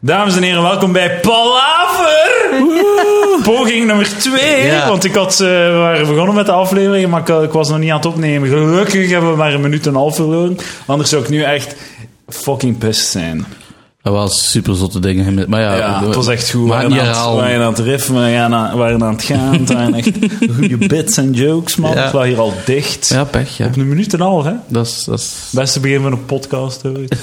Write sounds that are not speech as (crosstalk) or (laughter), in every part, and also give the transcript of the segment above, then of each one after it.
Dames en heren, welkom bij Palaver! Woe! Poging nummer 2. Ja. Want ik had, eh, we waren begonnen met de aflevering, maar ik, eh, ik was nog niet aan het opnemen. Gelukkig hebben we maar een minuut en een half verloren. Anders zou ik nu echt fucking pissed zijn. Dat was super zotte dingen. Maar ja, Ja, we- het was echt goed. We We gaan niet waren, aan het, we herhalen. waren aan het riffen, we waren aan, we waren aan het gaan. Het waren (laughs) echt goede bits en jokes, man. Ja. Het lag hier al dicht. Ja, pech, ja. Op een minuut en een half, hè? Dat is, dat is, Beste begin van een podcast (laughs) ooit.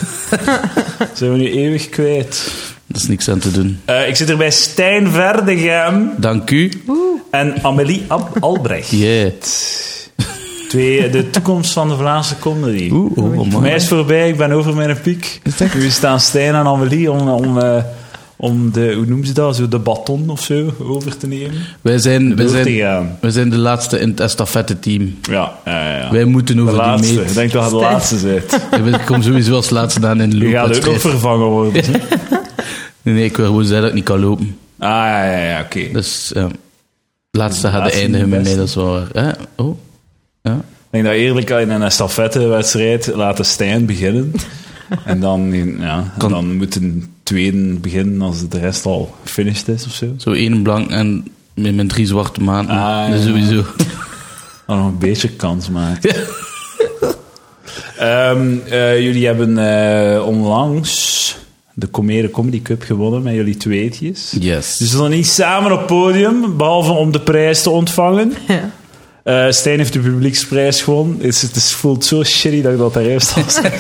Zijn we nu eeuwig kwijt. dat is niks aan te doen. Eh, ik zit hier bij Stijn Verdegem. Dank u. eh, En Amélie Ab- Albrecht. Yeah. Twee, de toekomst van de Vlaamse comedy. Oeh, oh, oh, man. Mij is voorbij, ik ben over mijn piek. Is het echt? Nu staan Stijn en Amélie om, om, eh, om de, hoe noemen ze dat, zo de baton of zo over te nemen. Wij zijn, wij Door te zijn, gaan. wij zijn de laatste in het estafette team. Ja, ja, ja. Wij moeten de over die laatste. Ik meet. denk dat je de Stijn. laatste bent. Ik kom sowieso als laatste aan in de Je gaat ook nog loopwedstrijd. vervangen (laughs) worden. Nee, nee, ik wil gewoon zeggen dat ik niet kan lopen. Ah, ja, ja, ja oké. Dus ja, laatste gaat Laatste eindigen niet met mij, best. dat is waar. Hè? Oh. Ja. Ik denk dat eerlijk in een estafettewedstrijd laten Stijn beginnen. En dan, ja, en Kan- dan moet een tweede beginnen als de rest al finished is of zo. Zo één blank en met mijn drie zwarte maanden. Ah, Dus ja. sowieso. (laughs) Dan nog een beetje kans maken. Ehm, eh, jullie hebben eh, onlangs de Comere Comedy Cup gewonnen met jullie tweetjes. Yes. Dus dan niet samen op het podium, behalve om de prijs te ontvangen. Ja. Eh, Stijn heeft de publieksprijs gewonnen. Het, is- het is, voelt zo shitty dat ik dat daar eerst al (laughs) zeg.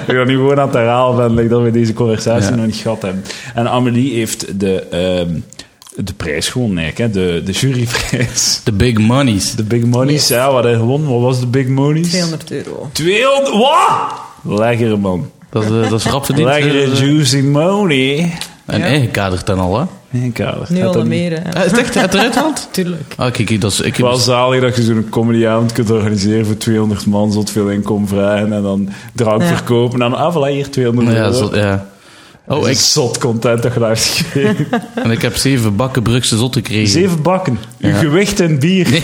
ik ben nu gewoon aan het herhalen ben, like, dat we deze conversatie Ja. nog niet gehad hebben. En Amelie heeft de, ehm, de prijs gewonnen, eigenlijk, hè? De, de juryprijs. The big monies. De Big Monies, Yes. ja, wat hij gewonnen. Wat was de Big Monies? 200 euro. 200 wat? Lekker man. Dat, is, eh, dat is rap verdiend. Lekkere Eh, juicy money. En Ja. eigen kader ten al, hè? Ik hou het. Nu Gaat al dat een niet? meer, hè. Is het echt uit eruit haalt? (laughs) Tuurlijk. Ah, kijk, dat is... Ik heb Wel zalig dat je zo'n comedyavond kunt organiseren voor 200 man, zot veel inkomen vragen en dan drank Ja. verkopen. En dan ah, voilà, hier 200 euro. ja, zo, ja. Dat Oh, is ik, zot content dat je daar hebt (laughs) gekregen. en ik heb zeven bakken Brugse zot gekregen. Zeven bakken. Uw Ja. gewicht en bier. Nee.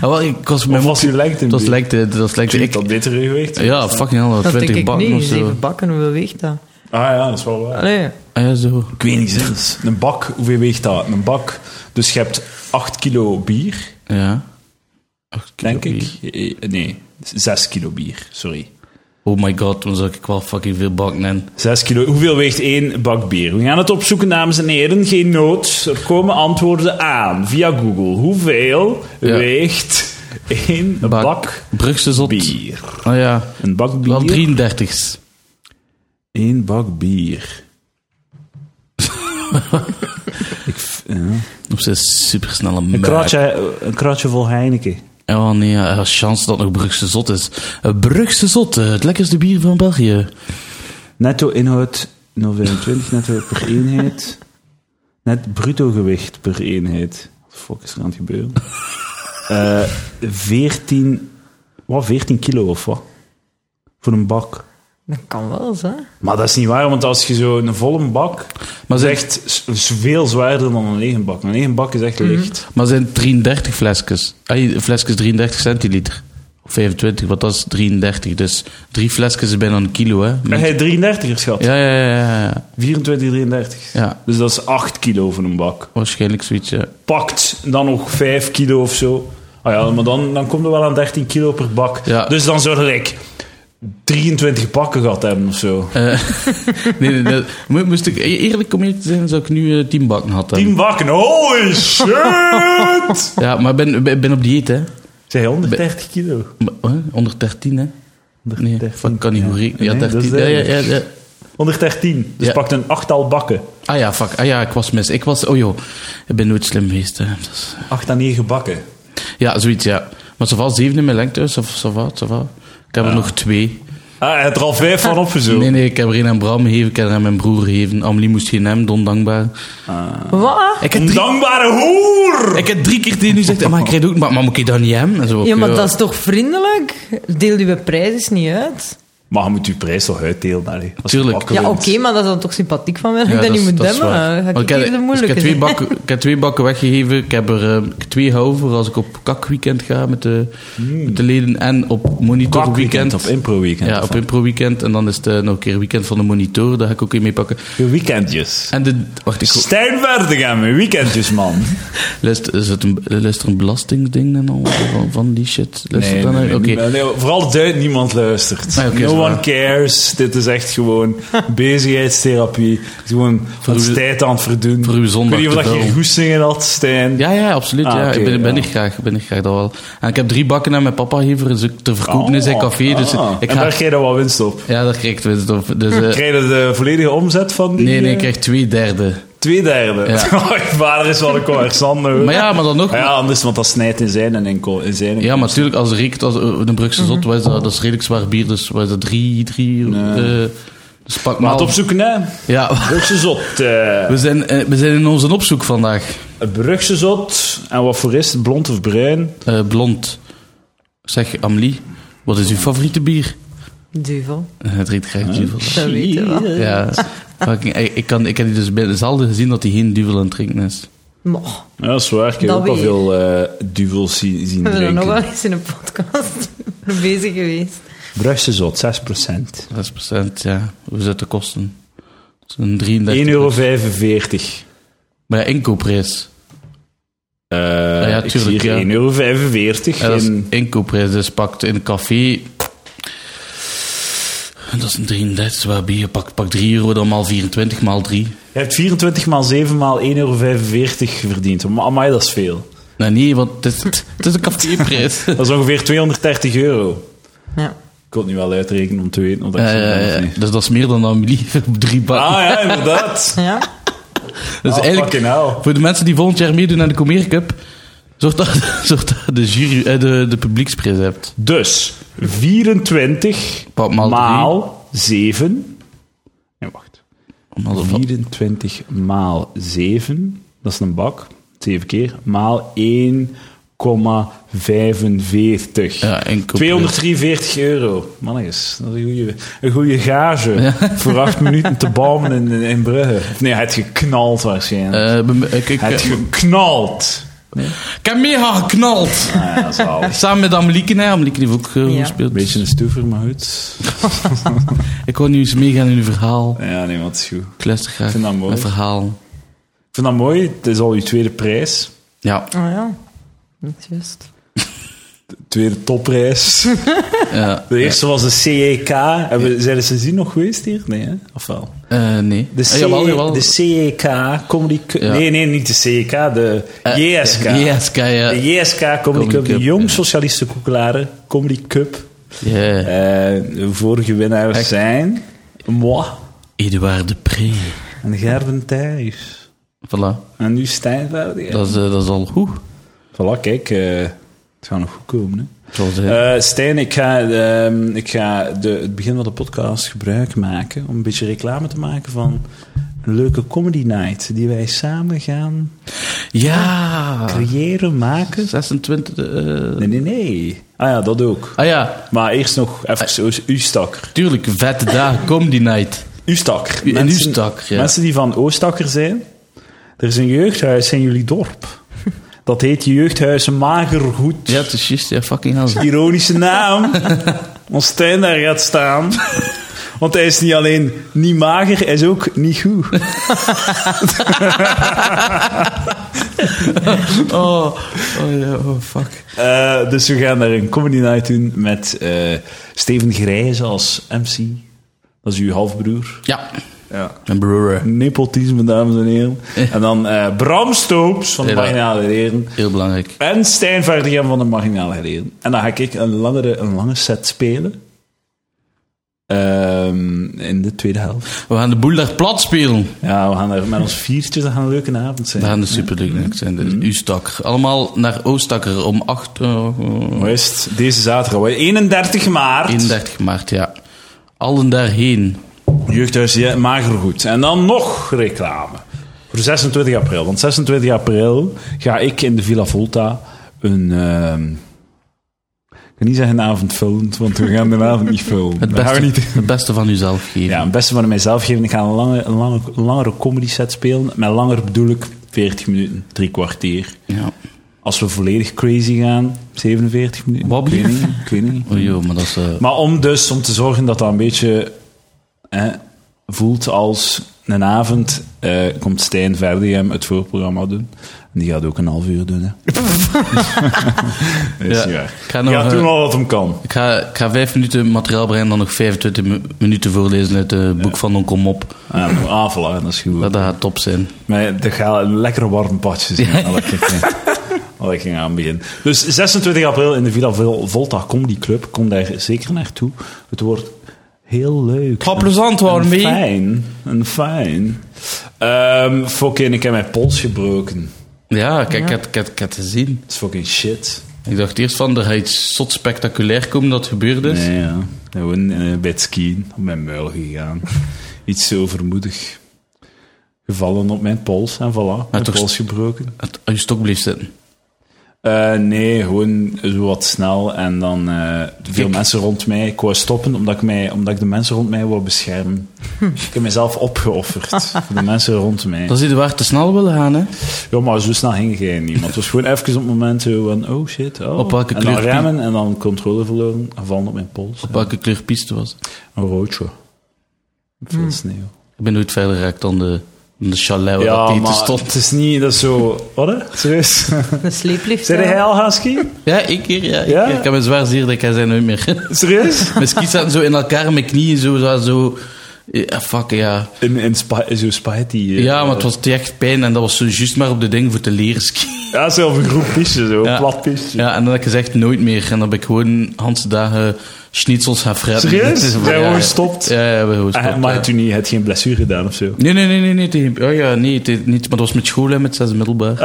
Ah, wel, ik was... Of Mijn, was uw lengte in dat bier? lijkt... eh, Dat lijkt Ik ik, dat betere gewicht. ja, fucking hell, Dat denk 20 ik bakken nu. of zo. Zeven bakken, hoeveel weegt dat? Ah ja, dat is wel waar. Allee. Ah, ja, zo. Ik weet niet zelfs. Een bak, hoeveel weegt dat? Een bak, dus je hebt 8 kilo bier. Ja. Acht kilo Denk ik? bier. Eh, eh, Nee, 6 kilo bier, sorry. Oh my god, dan zou ik wel fucking veel bakken in. 6 kilo. Hoeveel weegt één bak bier? We gaan het opzoeken, dames en heren. Geen nood. Er komen antwoorden aan via Google. Hoeveel Ja. weegt één bak, Brugse zot. bier? Ah ja. Een bak bier? Wel 33's. Eén bak bier. Op zijn supersnelle Een merk. kratje, een kratje vol Heineken. Oh nee, ja, chance dat nog Brugse zot is. Eh, Brugse zot, eh, het lekkerste bier van België. Netto inhoud 0,25 netto per eenheid. Net bruto gewicht per eenheid. Wat de fuck is er aan het (laughs) gebeuren? Eh 14, wat, 14 kilo of wat? Voor een bak. Dat kan wel eens, hè. Maar dat is niet waar, want als je zo een volle bak. Maar Maar is zeg- echt s- s- veel zwaarder dan een lege bak. Een lege bak is Mhm. echt licht. Maar zijn 33 flesjes. Ay, flesjes 33 centiliter. Of 25, want dat is 33. Dus drie flesjes is bijna een kilo, hè? En Met- hij 33er schat. Ja, ja, ja, ja, ja. 24, 33. Ja. Dus dat is 8 kilo voor een bak. Waarschijnlijk zoiets, ja. pakt dan nog 5 kilo of zo. Ah ja, maar dan, dan komt er wel aan 13 kilo per bak. Ja. Dus dan zou ik 23 bakken gehad hebben of zo. Eh, Nee, nee, nee. Mo- Moest ik eerlijk om eerlijk te zijn, zou ik nu eh 10 bakken hadden. 10 bakken, holy shit! (laughs) Ja, maar ik ben, ben, ben op dieet, hè? Zij 130 kilo. Maar, hè? 113, hè? Nee, 113, fuck, ik kan niet ja. hoe rekenen. Ja, Nee, dat 13. is Ja, ja, ja, duidelijk. ja. 113, dus Ja. pakt een achttal bakken. Ah ja, fuck. Ah ja, ik was mis. Ik was... Oh joh, ik ben nooit slim geweest, hè. Dat is- 8 à 9 bakken. Ja, zoiets, ja. Maar zoveel zeven in mijn lengte, dus of zoveel, zoveel. Ik heb er nog twee. Ah, hij had er al 5 van opgezocht. Nee, nee, ik heb er één aan Bram gegeven, ik heb er aan mijn broer gegeven. Amelie moest geen hem, don dankbaar. Wat? Ah. Ik heb Een drie, dankbare hoer! ik heb drie keer tegen u gezegd, maar ik krijg ook, maar, maar moet ik dan niet hem? En zo, Ja, maar dat is toch vriendelijk? Deel uw prijs eens niet uit. Maar je moet je prijs toch uitdelen, allee. Als je Tuurlijk. bakker Ja, oké, bent. maar dat is dan toch sympathiek van mij dat Ja, ik dat dat niet is- moet dat is demmen. waar. Dan Ga ik Want hier de ik, moeilijke heb twee zijn. (laughs) bakken, ik heb twee bakken weggegeven. Ik heb er eh, ik heb twee gehouden voor als ik op kakweekend ga met de, met de leden. En op monitorweekend. Hmm. Kakweekend, op impro-weekend. ja, of op wat? impro-weekend. En dan is het eh, nog een keer weekend van de monitor. Daar ga ik ook in mee pakken. Je weekendjes. En de... Wacht, ik... Stijn verder gaan we, weekendjes, (laughs) man. Luister, is het een, luister een belastingsding en al van, van die shit? Luister Dus dan uit? Oké. niet- nee, vooral duid, niemand luistert. Nee, oké, is no waar. one cares. Dit is echt (laughs) gewoon bezigheidstherapie. Het is gewoon ons uw- tijd aan het verdoen. voor uw zondag Ik weet niet of te dat je vullen. goestingen had, Stijn. Ja, ja, absoluut. Ah, ja. oké, ik ben, ben ja. ik graag, ben ik graag dat wel. En ik heb drie bakken aan mijn papa gegeven, dus ik- te verkopen in zijn café. Dus ah. ik En ga, daar krijg je dan wel winst op. ja, daar kreeg ik winst op. Dus, eh, Krijg je de volledige omzet van die? nee, nee, eh, ik krijg twee derde. Twee derde. (laughs) Ja. Oh, Je vader is wel een commerçant. hoor. Maar ja, maar dan nog. Ah ja, anders, want dat snijdt in zijn en inko- in zijn. Ja, maar natuurlijk, als Rick, als eh, een Brugse zot, was dat, dat is redelijk zwaar bier, dus was dat drie, drie, eh, dus pak maar. Maar het opzoeken, hè. Ja, (laughs) Brugse zot. eh. we zijn, eh, we zijn in onze opzoek vandaag. Brugse zot. En wat voor is het? Blond of bruin? Eh, blond. Zeg, Amelie, wat is uw favoriete bier? Duvel, Eh, Het Riet krijgt duvel. dat weet je wel. Ja, fucking, eh, ik, kan, ik heb die dus bij- zelden gezien dat hij geen duvel aan het drinken is. Maar, Ja, dat is waar. Ik heb Dat ook al weer. veel eh duvels zien, zien we zijn er nog wel drinken. eens in een podcast (laughs) mee bezig geweest. Brugse zot, 6%. 6%, ja. Hoe zit de kosten? Zo'n 33 1,45 euro. Maar ja, inkoopprijs. Eh, ja, ik zie tuurlijk, hier ja. 1,45 Ja, dat is in- inkoopprijs. Dus pakt in een café... Dat is een 33 zwaar bier. Pak, pak 3 euro, dan maal 24, maal 3. Je hebt 24 maal 7 maal 1,45 euro verdiend. Maar amai, dat is veel. Nou nee, want het is, het is een (laughs) caféprijs. ja, Dat is ongeveer 230 euro. Ja. Ik kon het nu wel uitrekenen om te weten of dat ik zo ja, ben of ja. niet. Dus dat is meer dan Amelie op drie bakken. Ah ja, (laughs) inderdaad. ja. Dus Ah, eigenlijk, fucking hell. voor de mensen die volgend jaar meedoen aan de Comer Cup, zorg dat, (laughs) zorg dat de, jury, eh, de, de publieksprijs hebt. Dus 24 Pak maal drie. maal 7. Nee, wacht. Om als- 24 maal 7, dat is een bak, 7 keer, maal 1,45. Ja, en koop- 243 euro. Mannetjes, dat is een goede, een goede gage voor (laughs) 8 minuten te bouwen in, in- in Brugge. Nee, hij heeft geknald waarschijnlijk. Eh, bij me- eh, kijk, hij heeft eh, geknald. ik heb mega geknald. Ah, ja, (laughs) zalig. Samen met Amelieke. hè. Amelieke heeft ook eh, Ja. gespeeld. Een beetje een stoever, maar goed. Ik wil nu eens meegaan in uw verhaal. Ja, nee, wat is goed. Ik luister graag Ik vind dat mooi. naar verhaal. Ik vind dat mooi. Het is al uw tweede prijs. Ja, Oh ja, dat is juist. Tweede topprijs. ja. De eerste was de CEK. Hebben, we- Zijn er sindsdien nog geweest hier? Nee, hè? Of wel? Eh, nee. De, E- Eh, jawel, jawel. de CEK Comedy Cup. Ja. Nee, nee, niet de CEK. De Eh, JSK. JSK, ja. De JSK Comedy, Cup. Cup, de Jong ja. Socialisten Koekelaren Comedy Cup. Ja. Eh, de vorige winnaars Echt? zijn... Moi. Eduard de Pre. En Gerben Thijs. Voilà. En nu Stijn Verdier. Dat, is, eh, dat is al goed. Voilà, kijk. eh, het gaat nog goed komen, hè. Zoals, eh, Eh, Stijn, ik ga, ehm, ik ga de, het begin van de podcast gebruik maken om een beetje reclame te maken van een leuke comedy night die wij samen gaan ja. creëren, maken. 26. eh, Nee, nee, nee. Ah ja, dat ook. Ah ja, Maar eerst nog Ah. even Oost- Ustakker. tuurlijk, vette dagen, comedy night. Ustakker. In Mensen- Ustakker, ja. Mensen die van Oostakker zijn, er is een jeugdhuis in jullie dorp. (laughs) Dat heet Jeugdhuis Magergoed. Ja, het is juist, ja, fucking hell. ironische naam. Als Stijn daar gaat staan. Want hij is niet alleen niet mager, hij is ook niet goed. Oh, oh, ja, oh, fuck. Eh, dus we gaan daar een comedy night doen met eh, Steven Grijs als MC. Dat is uw halfbroer. Ja, Ja. een broer. eh. Nepotisme, dames en heren. En dan eh, Bram Stoops van de Ja. Marginale Heren. Heel belangrijk. En Stijn Verdegem van de Marginale Heren. En dan ga ik een, langere, een lange set spelen. Ehm, in de tweede helft. We gaan de boel daar plat spelen. Ja, we gaan er met ons viertjes, dat gaan een leuke avond zijn. We gaan de Mhm. superleuk zijn, de U-stak. Allemaal naar Oostakker om eh, 8, Hoe is het? Deze zaterdag, hè? 31 maart. 31 maart, ja. Allen daarheen. Jeugdhuis ja, Magergoed. En dan nog reclame. Voor 26 april. Want 26 april ga ik in de Villa Volta een... ehm, Ik kan niet zeggen een avond vullen, want we gaan de avond niet vullen. Het Dat gaan we beste, niet doen. het beste van uzelf geven. Ja, het beste van mijzelf geven. Ik ga een, lange, een lange, langere comedy set spelen. Met langer bedoel ik 40 minuten, drie kwartier. Ja. Als we volledig crazy gaan, 47 minuten. Wobbly? Ik weet niet, ik weet niet. Oei, joh, maar dat is... eh, Maar om dus, om te zorgen dat dat een beetje hè, voelt als een avond, eh, komt Stijn Verdegem het voorprogramma doen. En die gaat ook een half uur doen, hè. (laughs) Dat is niet Ja, ik waar. ga Die nog, gaat eh, doen al wat hem kan. ik, ga, ik ga vijf minuten materiaal brengen en dan nog 25 mi- minuten voorlezen uit het boek van Onkel Mop. Ah, ah, voilà, dat is goed. Dat, dat gaat top zijn. Maar er gaan een lekkere warm padje zijn. Al ik, eh, al ik ging aan beginnen. Dus 26 april in de Villa Vol- Volta Comedy Club. Kom daar zeker naartoe. Het wordt heel leuk. Ga plezant worden, En mee. Fijn. En fijn. Ehm fucking, ik heb mijn pols gebroken. Ja, kijk, ik, had, ik, had, ik had het gezien. Dat is fucking shit. Ik dacht eerst van, er gaat iets zot spectaculair komen dat gebeurd is. Nee, ja. Gewoon eh, bij het skiën op mijn muil (laughs) gegaan. Iets zo vermoedig. Gevallen op mijn pols en voilà. Mijn toch- pols gebroken. Het, als je stok bleef zitten. Eh, nee, gewoon zo wat snel en dan eh, veel Ik- mensen rond mij. Ik wou stoppen omdat ik, mij, omdat ik de mensen rond mij wou beschermen. Hm. ik heb mezelf (laughs) opgeofferd voor de mensen rond mij. Dan zie je waar te snel willen gaan, hè. Ja, maar zo snel ging jij niet. Maar het was gewoon (laughs) even op het moment zo van, oh shit, oh. Op welke en dan kleur pie- remmen en dan controle verloren, gevallen op mijn pols. Op welke kleur piste was het? Een roodje. Veel sneeuw. Ik ben nooit verder geraakt dan de, dan de chalet Hmm. waar ja, dat eten maar stond. het is niet, dat is zo... Wat, hè? (laughs) Serieus? Een sleeplift. Zijn jij al gaan skiën? Ja, ik hier, ja. Ik, Ja? hier. ik heb een zwaar zeer dat ik hij zijn nooit meer. (laughs) Serieus? mijn skis zaten zo in elkaar, mijn knieën zo, zo, zo. Ja, fuck, ja. In, in spa, zo spaghetti... eh, Ja, maar het was echt pijn en dat was zo juist maar op de ding voor te leren skiën. Ja, zo op een groep piste, zo. Ja. Plat piste. (laughs) Ja, en dan heb ik gezegd nooit meer. En dan ben ik gewoon Hans dagen schnitzels gaan fretten. Serieus? (laughs) Het is- Zijn we gewoon gestopt? Ja, ja, we hebben gewoon Ah, gestopt. maar ja. het u niet, het geen blessure gedaan of zo? Nee, nee, nee, nee, nee. tegen- oh, Ja, ja, nee, tegen- niet, maar dat was met school en met zes middelbaar. Ah ja,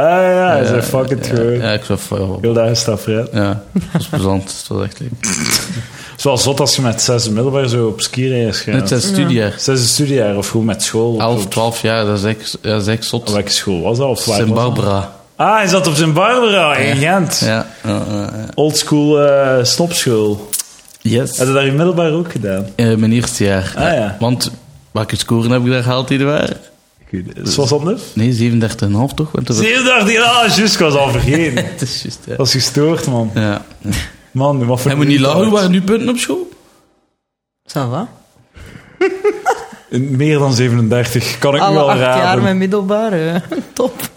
hij Ja, zei fuck it ja, gewoon. Ja, ik zei van, ja, Heel daar staf red. ja, dat was plezant. Het was echt leuk. Het is wel zot als je met zes middelbaar zo op skireis gaat. Net zijn studiejaar. Zesde studiejaar of gewoon met school. 11, Of- 12 jaar, dat is echt, ja, dat is echt zot. Welke school was dat? Of waar Sint was dat? Barbara. Ah, hij zat op Sint Barbara in Gent. Ja. ja, ja, ja. Oldschool eh stopschool. yes. Had je daar in middelbaar ook gedaan? Eh, mijn eerste jaar. Ah, ja. Want welke scoren heb ik daar gehaald die er waren? eh, Zoals dat nu? Nee, 37,5 toch? Want dat Zie je daar die? Ah, juist, ik was al (laughs) vergeten. het is juist, ja. Dat is gestoord, man. ja. Man, wat voor... Hij moet niet lachen, waren nu punten op school? Zo wat? Meer dan 37, kan ik nu Alle al acht jaar raden. met middelbaar. hè. (laughs) Top.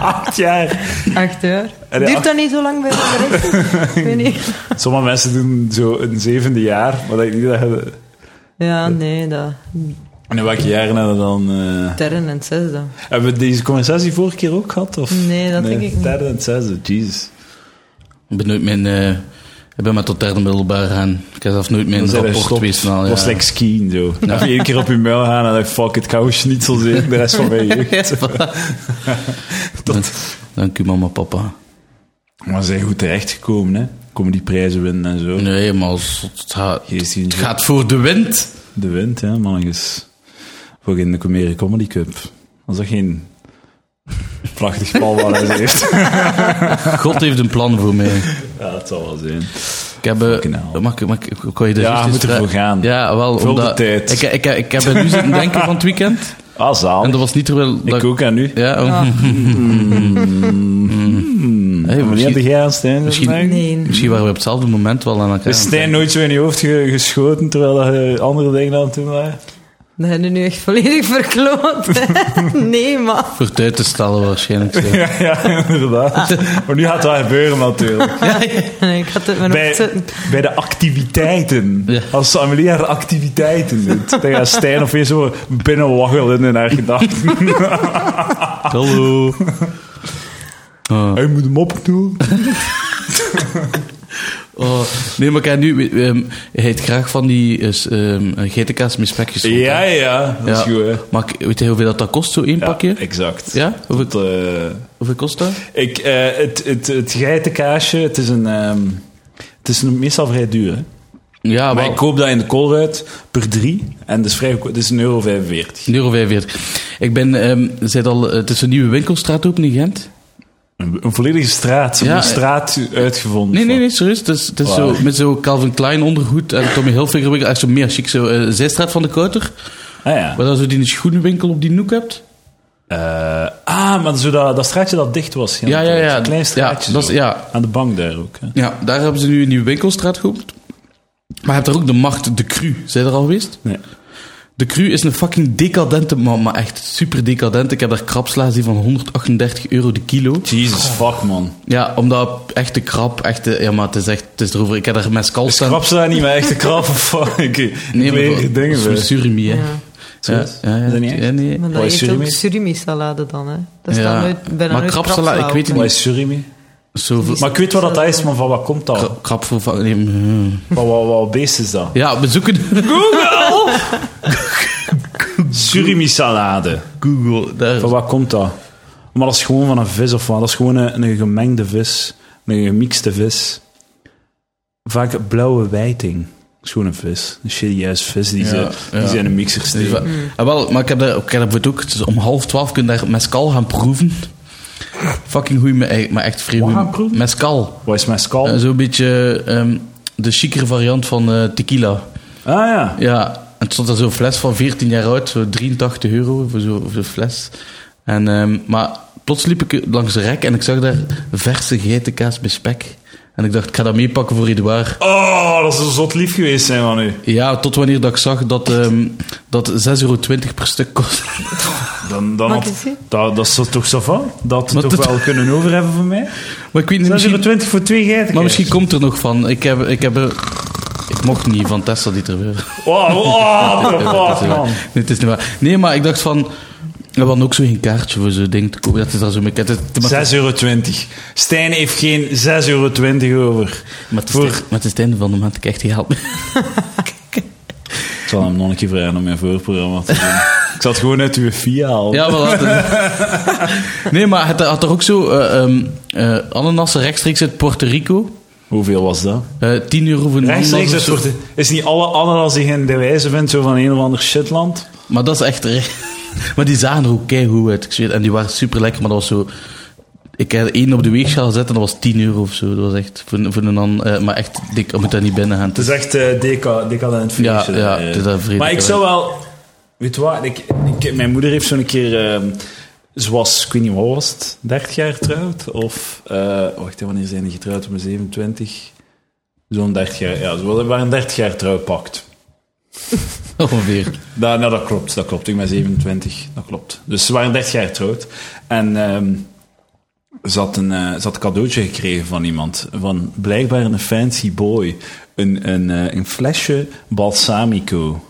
Acht jaar. Acht jaar. En die Duurt acht- dat niet zo lang bij de rest? (laughs) Ik weet niet. Sommige mensen doen zo een zevende jaar, maar dat ik niet dat je- Ja, nee, dat. En in welke jaren hebben we dan... eh, Derde en zesde. hebben we deze conversatie vorige keer ook gehad? Of? Nee, dat denk ik niet. Derde en zesde, jezus. Ik ben nooit mijn... eh, ik ben maar tot derde middelbaar gegaan. Ik heb zelf nooit mijn Dan zijn we rapport gestopt. geweest van al, Dat ja. was like skiën, zo. Even één keer op je muil gaan en dan fuck it, kou niet zo zeker de rest van (laughs) mijn jeugd. (laughs) Dank u, mama, papa. Maar ze zijn goed terechtgekomen, hè. Komen die prijzen winnen en zo. Nee, maar als- het gaat, Geest die het zo- gaat voor de wind. De wind, hè, mannetjes. Voor in de Comere Comedy Cup. Was dat geen prachtig pal waar hij ze (laughs) heeft? God heeft een plan voor mij. Ja, dat zal wel zijn. Ik heb... eh, Fucking hell. Mag, ik- mag, ik- kon je de Ja, eerste je moet stra- ervoor gaan. Ja, wel. Vul de omdat- tijd. Ik, ik, ik heb er nu zitten denken van het weekend. Ah, zalig. En dat was niet terwijl... dat- Ik ook aan nu. Ja, oh. (laughs) Hey, Wanneer misschien, had jij aan Stijn misschien- gedacht? Nee. misschien waren we op hetzelfde moment wel aan elkaar. Is Stijn nooit zo in je hoofd ge- geschoten terwijl je andere dingen aan het doen waren? Dat hebben we nu echt volledig verkloot. (laughs) hè. nee, maar. Voor tijd te stellen waarschijnlijk. zo. Ja, (laughs) ja inderdaad. Ah. Maar nu gaat dat gebeuren natuurlijk. Nee, ik had het maar op Bij, zitten. bij de activiteiten. Ja. Als Amelie haar activiteiten doet, dan gaat Stijn of weer zo binnenwaggelen in haar gedachten. (laughs) Hallo. Oh. Hij moet hem opdoen. Oh. Nee, maar kijk, nu... ehm, hij eet graag van die is, ehm, GTK's met spekjes. Ja, ja, dat is goed, hè. Maar ik- weet je hoeveel dat, dat kost, zo één pakje? exact. Ja? Hoeveel, Tot, eh, hoeveel kost dat? ik, eh, het, het, het geitenkaasje, het is, een, ehm, het is een- meestal vrij duur, hè. Ja, Maar wel- ik koop dat in de koolruit per drie. En dat is vrij goedkoop. Dat is 1,45 euro. 45. €1,45. Ik ben, ehm, zit al, eh, het is een nieuwe winkelstraat open in Gent. Een, een volledige straat. Ze hebben Ja, een straat uitgevonden. Nee, nee, van- nee, serieus. Het is, het is Wauw. zo, met zo'n Calvin Klein ondergoed en Tommy Hilfiger winkel. Echt zo meer chic. Zo, eh, Zijstraat van de Kouter. Ah, ja. Waar dan zo die schoenenwinkel op die noek hebt. Eh, ah, maar zo dat, dat straatje dat dicht was. Ja, ja, ja. Een klein straatje. Ja, dat is- zo. ja. Aan de bank daar ook. Hè. Ja, daar hebben ze nu een nieuwe winkelstraat geopend. Maar je hebt daar ook de macht, de Cru. Zijn je er al geweest? Nee. De Cru is een fucking decadente man, maar echt super decadent. Ik heb daar krapsla's die van 138 euro de kilo. Jesus fuck, man. Ja, omdat echt de krap, echt de, ja, maar het is echt, het is erover. Ik heb daar mescal staan. Dus Krap ze daar niet, maar echt een krap (laughs) of fuck. Ik Nee, maar leer dingen dat bij. is Surimi, hè. Ja. Ja, ja, ja. Is dat niet echt? Ja, nee. Maar Wat dat is eet surimi? ook surimi-salade dan, hè. Dat is Ja. dan nooit, bijna Maar nooit krapsala, ik weet het Wat op, is surimi? Zoveel. Maar ik weet wat dat is, maar van wat komt dat? Kra- Krap voor van- nee, mm. Wat, wat, wat beest is dat? Ja, we zoeken Surimi-salade. (laughs) Google. Daar. Van wat komt dat? Maar dat is gewoon van een vis of wat? Dat is gewoon een, een gemengde vis. Een gemixte vis. Vaak blauwe wijting. Dat is gewoon een vis. Een serieus vis die, Ja, ze, die ja. ze in een mixer steken. Dus, ah, wel, maar ik heb daar, ik heb dat ook, het is om half twaalf kun je daar mescal gaan proeven. Fucking goeie, maar echt- maar echt vrij Wat goeie- gaan proeven? Oh. Mescal. Wat is mescal? Eh, Zo'n beetje ehm, de chicere variant van eh, tequila. ah ja. Ja, en het stond daar zo'n fles van 14 jaar oud, zo 83 euro voor zo'n voor zo'n fles. En, ehm, maar plots liep ik langs de rek en ik zag daar verse geitenkaas bij spek. En ik dacht, ik ga dat meepakken voor Edouard. Oh, dat zou zot lief geweest zijn van u. Ja, tot wanneer dat ik zag dat, ehm, dat 6,20 euro per stuk kost. (laughs) Dan, dan Mag ik had- het zien? dat, dat zou toch zo van? Dat Maar toch dat- wel kunnen overhebben voor (laughs) mij? Maar ik weet niet, misschien, 20 voor twee geiten. maar misschien komt er nog van. Ik heb, ik heb er... Ik mocht niet van Tessa die er weer... (laughs) Wow, wow, Ja, dat is wow, waar. Oh, man. Nee, het is niet waar. Nee, maar ik dacht van... We hadden ook zo'n kaartje voor zo'n ding te kopen. Dat is daar zo mee... het is- maar- 6,20 euro. Stijn heeft geen 6,20 euro over. Maar het, is Voor- het, maar het is het einde van de maand, ik krijg die (laughs) help. Ik zal hem nog een keer vragen om mijn voorprogramma te doen. Ik zal het gewoon uit uw via halen. Ja, maar dus- dat- (laughs) Nee, maar het had toch ook zo... eh ehm eh, ananassen rechtstreeks uit Puerto Rico. Hoeveel was dat? Eh 10 euro voor een Rechtstreeks, ananas dat of zo. soort... Is niet alle ananas die je in de wijze vindt, zo van een of ander shitland? Maar dat is echt... re- (laughs) Maar die zagen er ook keigoed uit. Ik zweer, en die waren super lekker, maar dat was zo... Ik heb er één op de weegschaal gezet en dat was 10 euro of zo. Dat was echt voor, voor een an, eh, Maar echt dik, ik moet daar niet binnen gaan. (laughs) Het Het is- is echt eh deca, decadent Ja, feestje. ja, Eh, het is dat vredig. Maar ik zou wel... Weet je wat? Ik, ik- mijn moeder heeft zo'n keer... ehm ze was, ik weet niet, wat was het? 30 jaar getrouwd? Of... eh, wacht, hè, wanneer zijn die getrouwd? Op mijn 27? Zo'n 30 jaar... Ja, ze waren een 30 jaar trouwpact. Ongeveer. Nou, nou, dat klopt, dat klopt. Ik ben 27, dat klopt. Dus ze waren 30 jaar getrouwd. En ehm ze, had een, eh, ze had een cadeautje gekregen van iemand. Van blijkbaar een fancy boy. Een, een, eh, een flesje balsamico.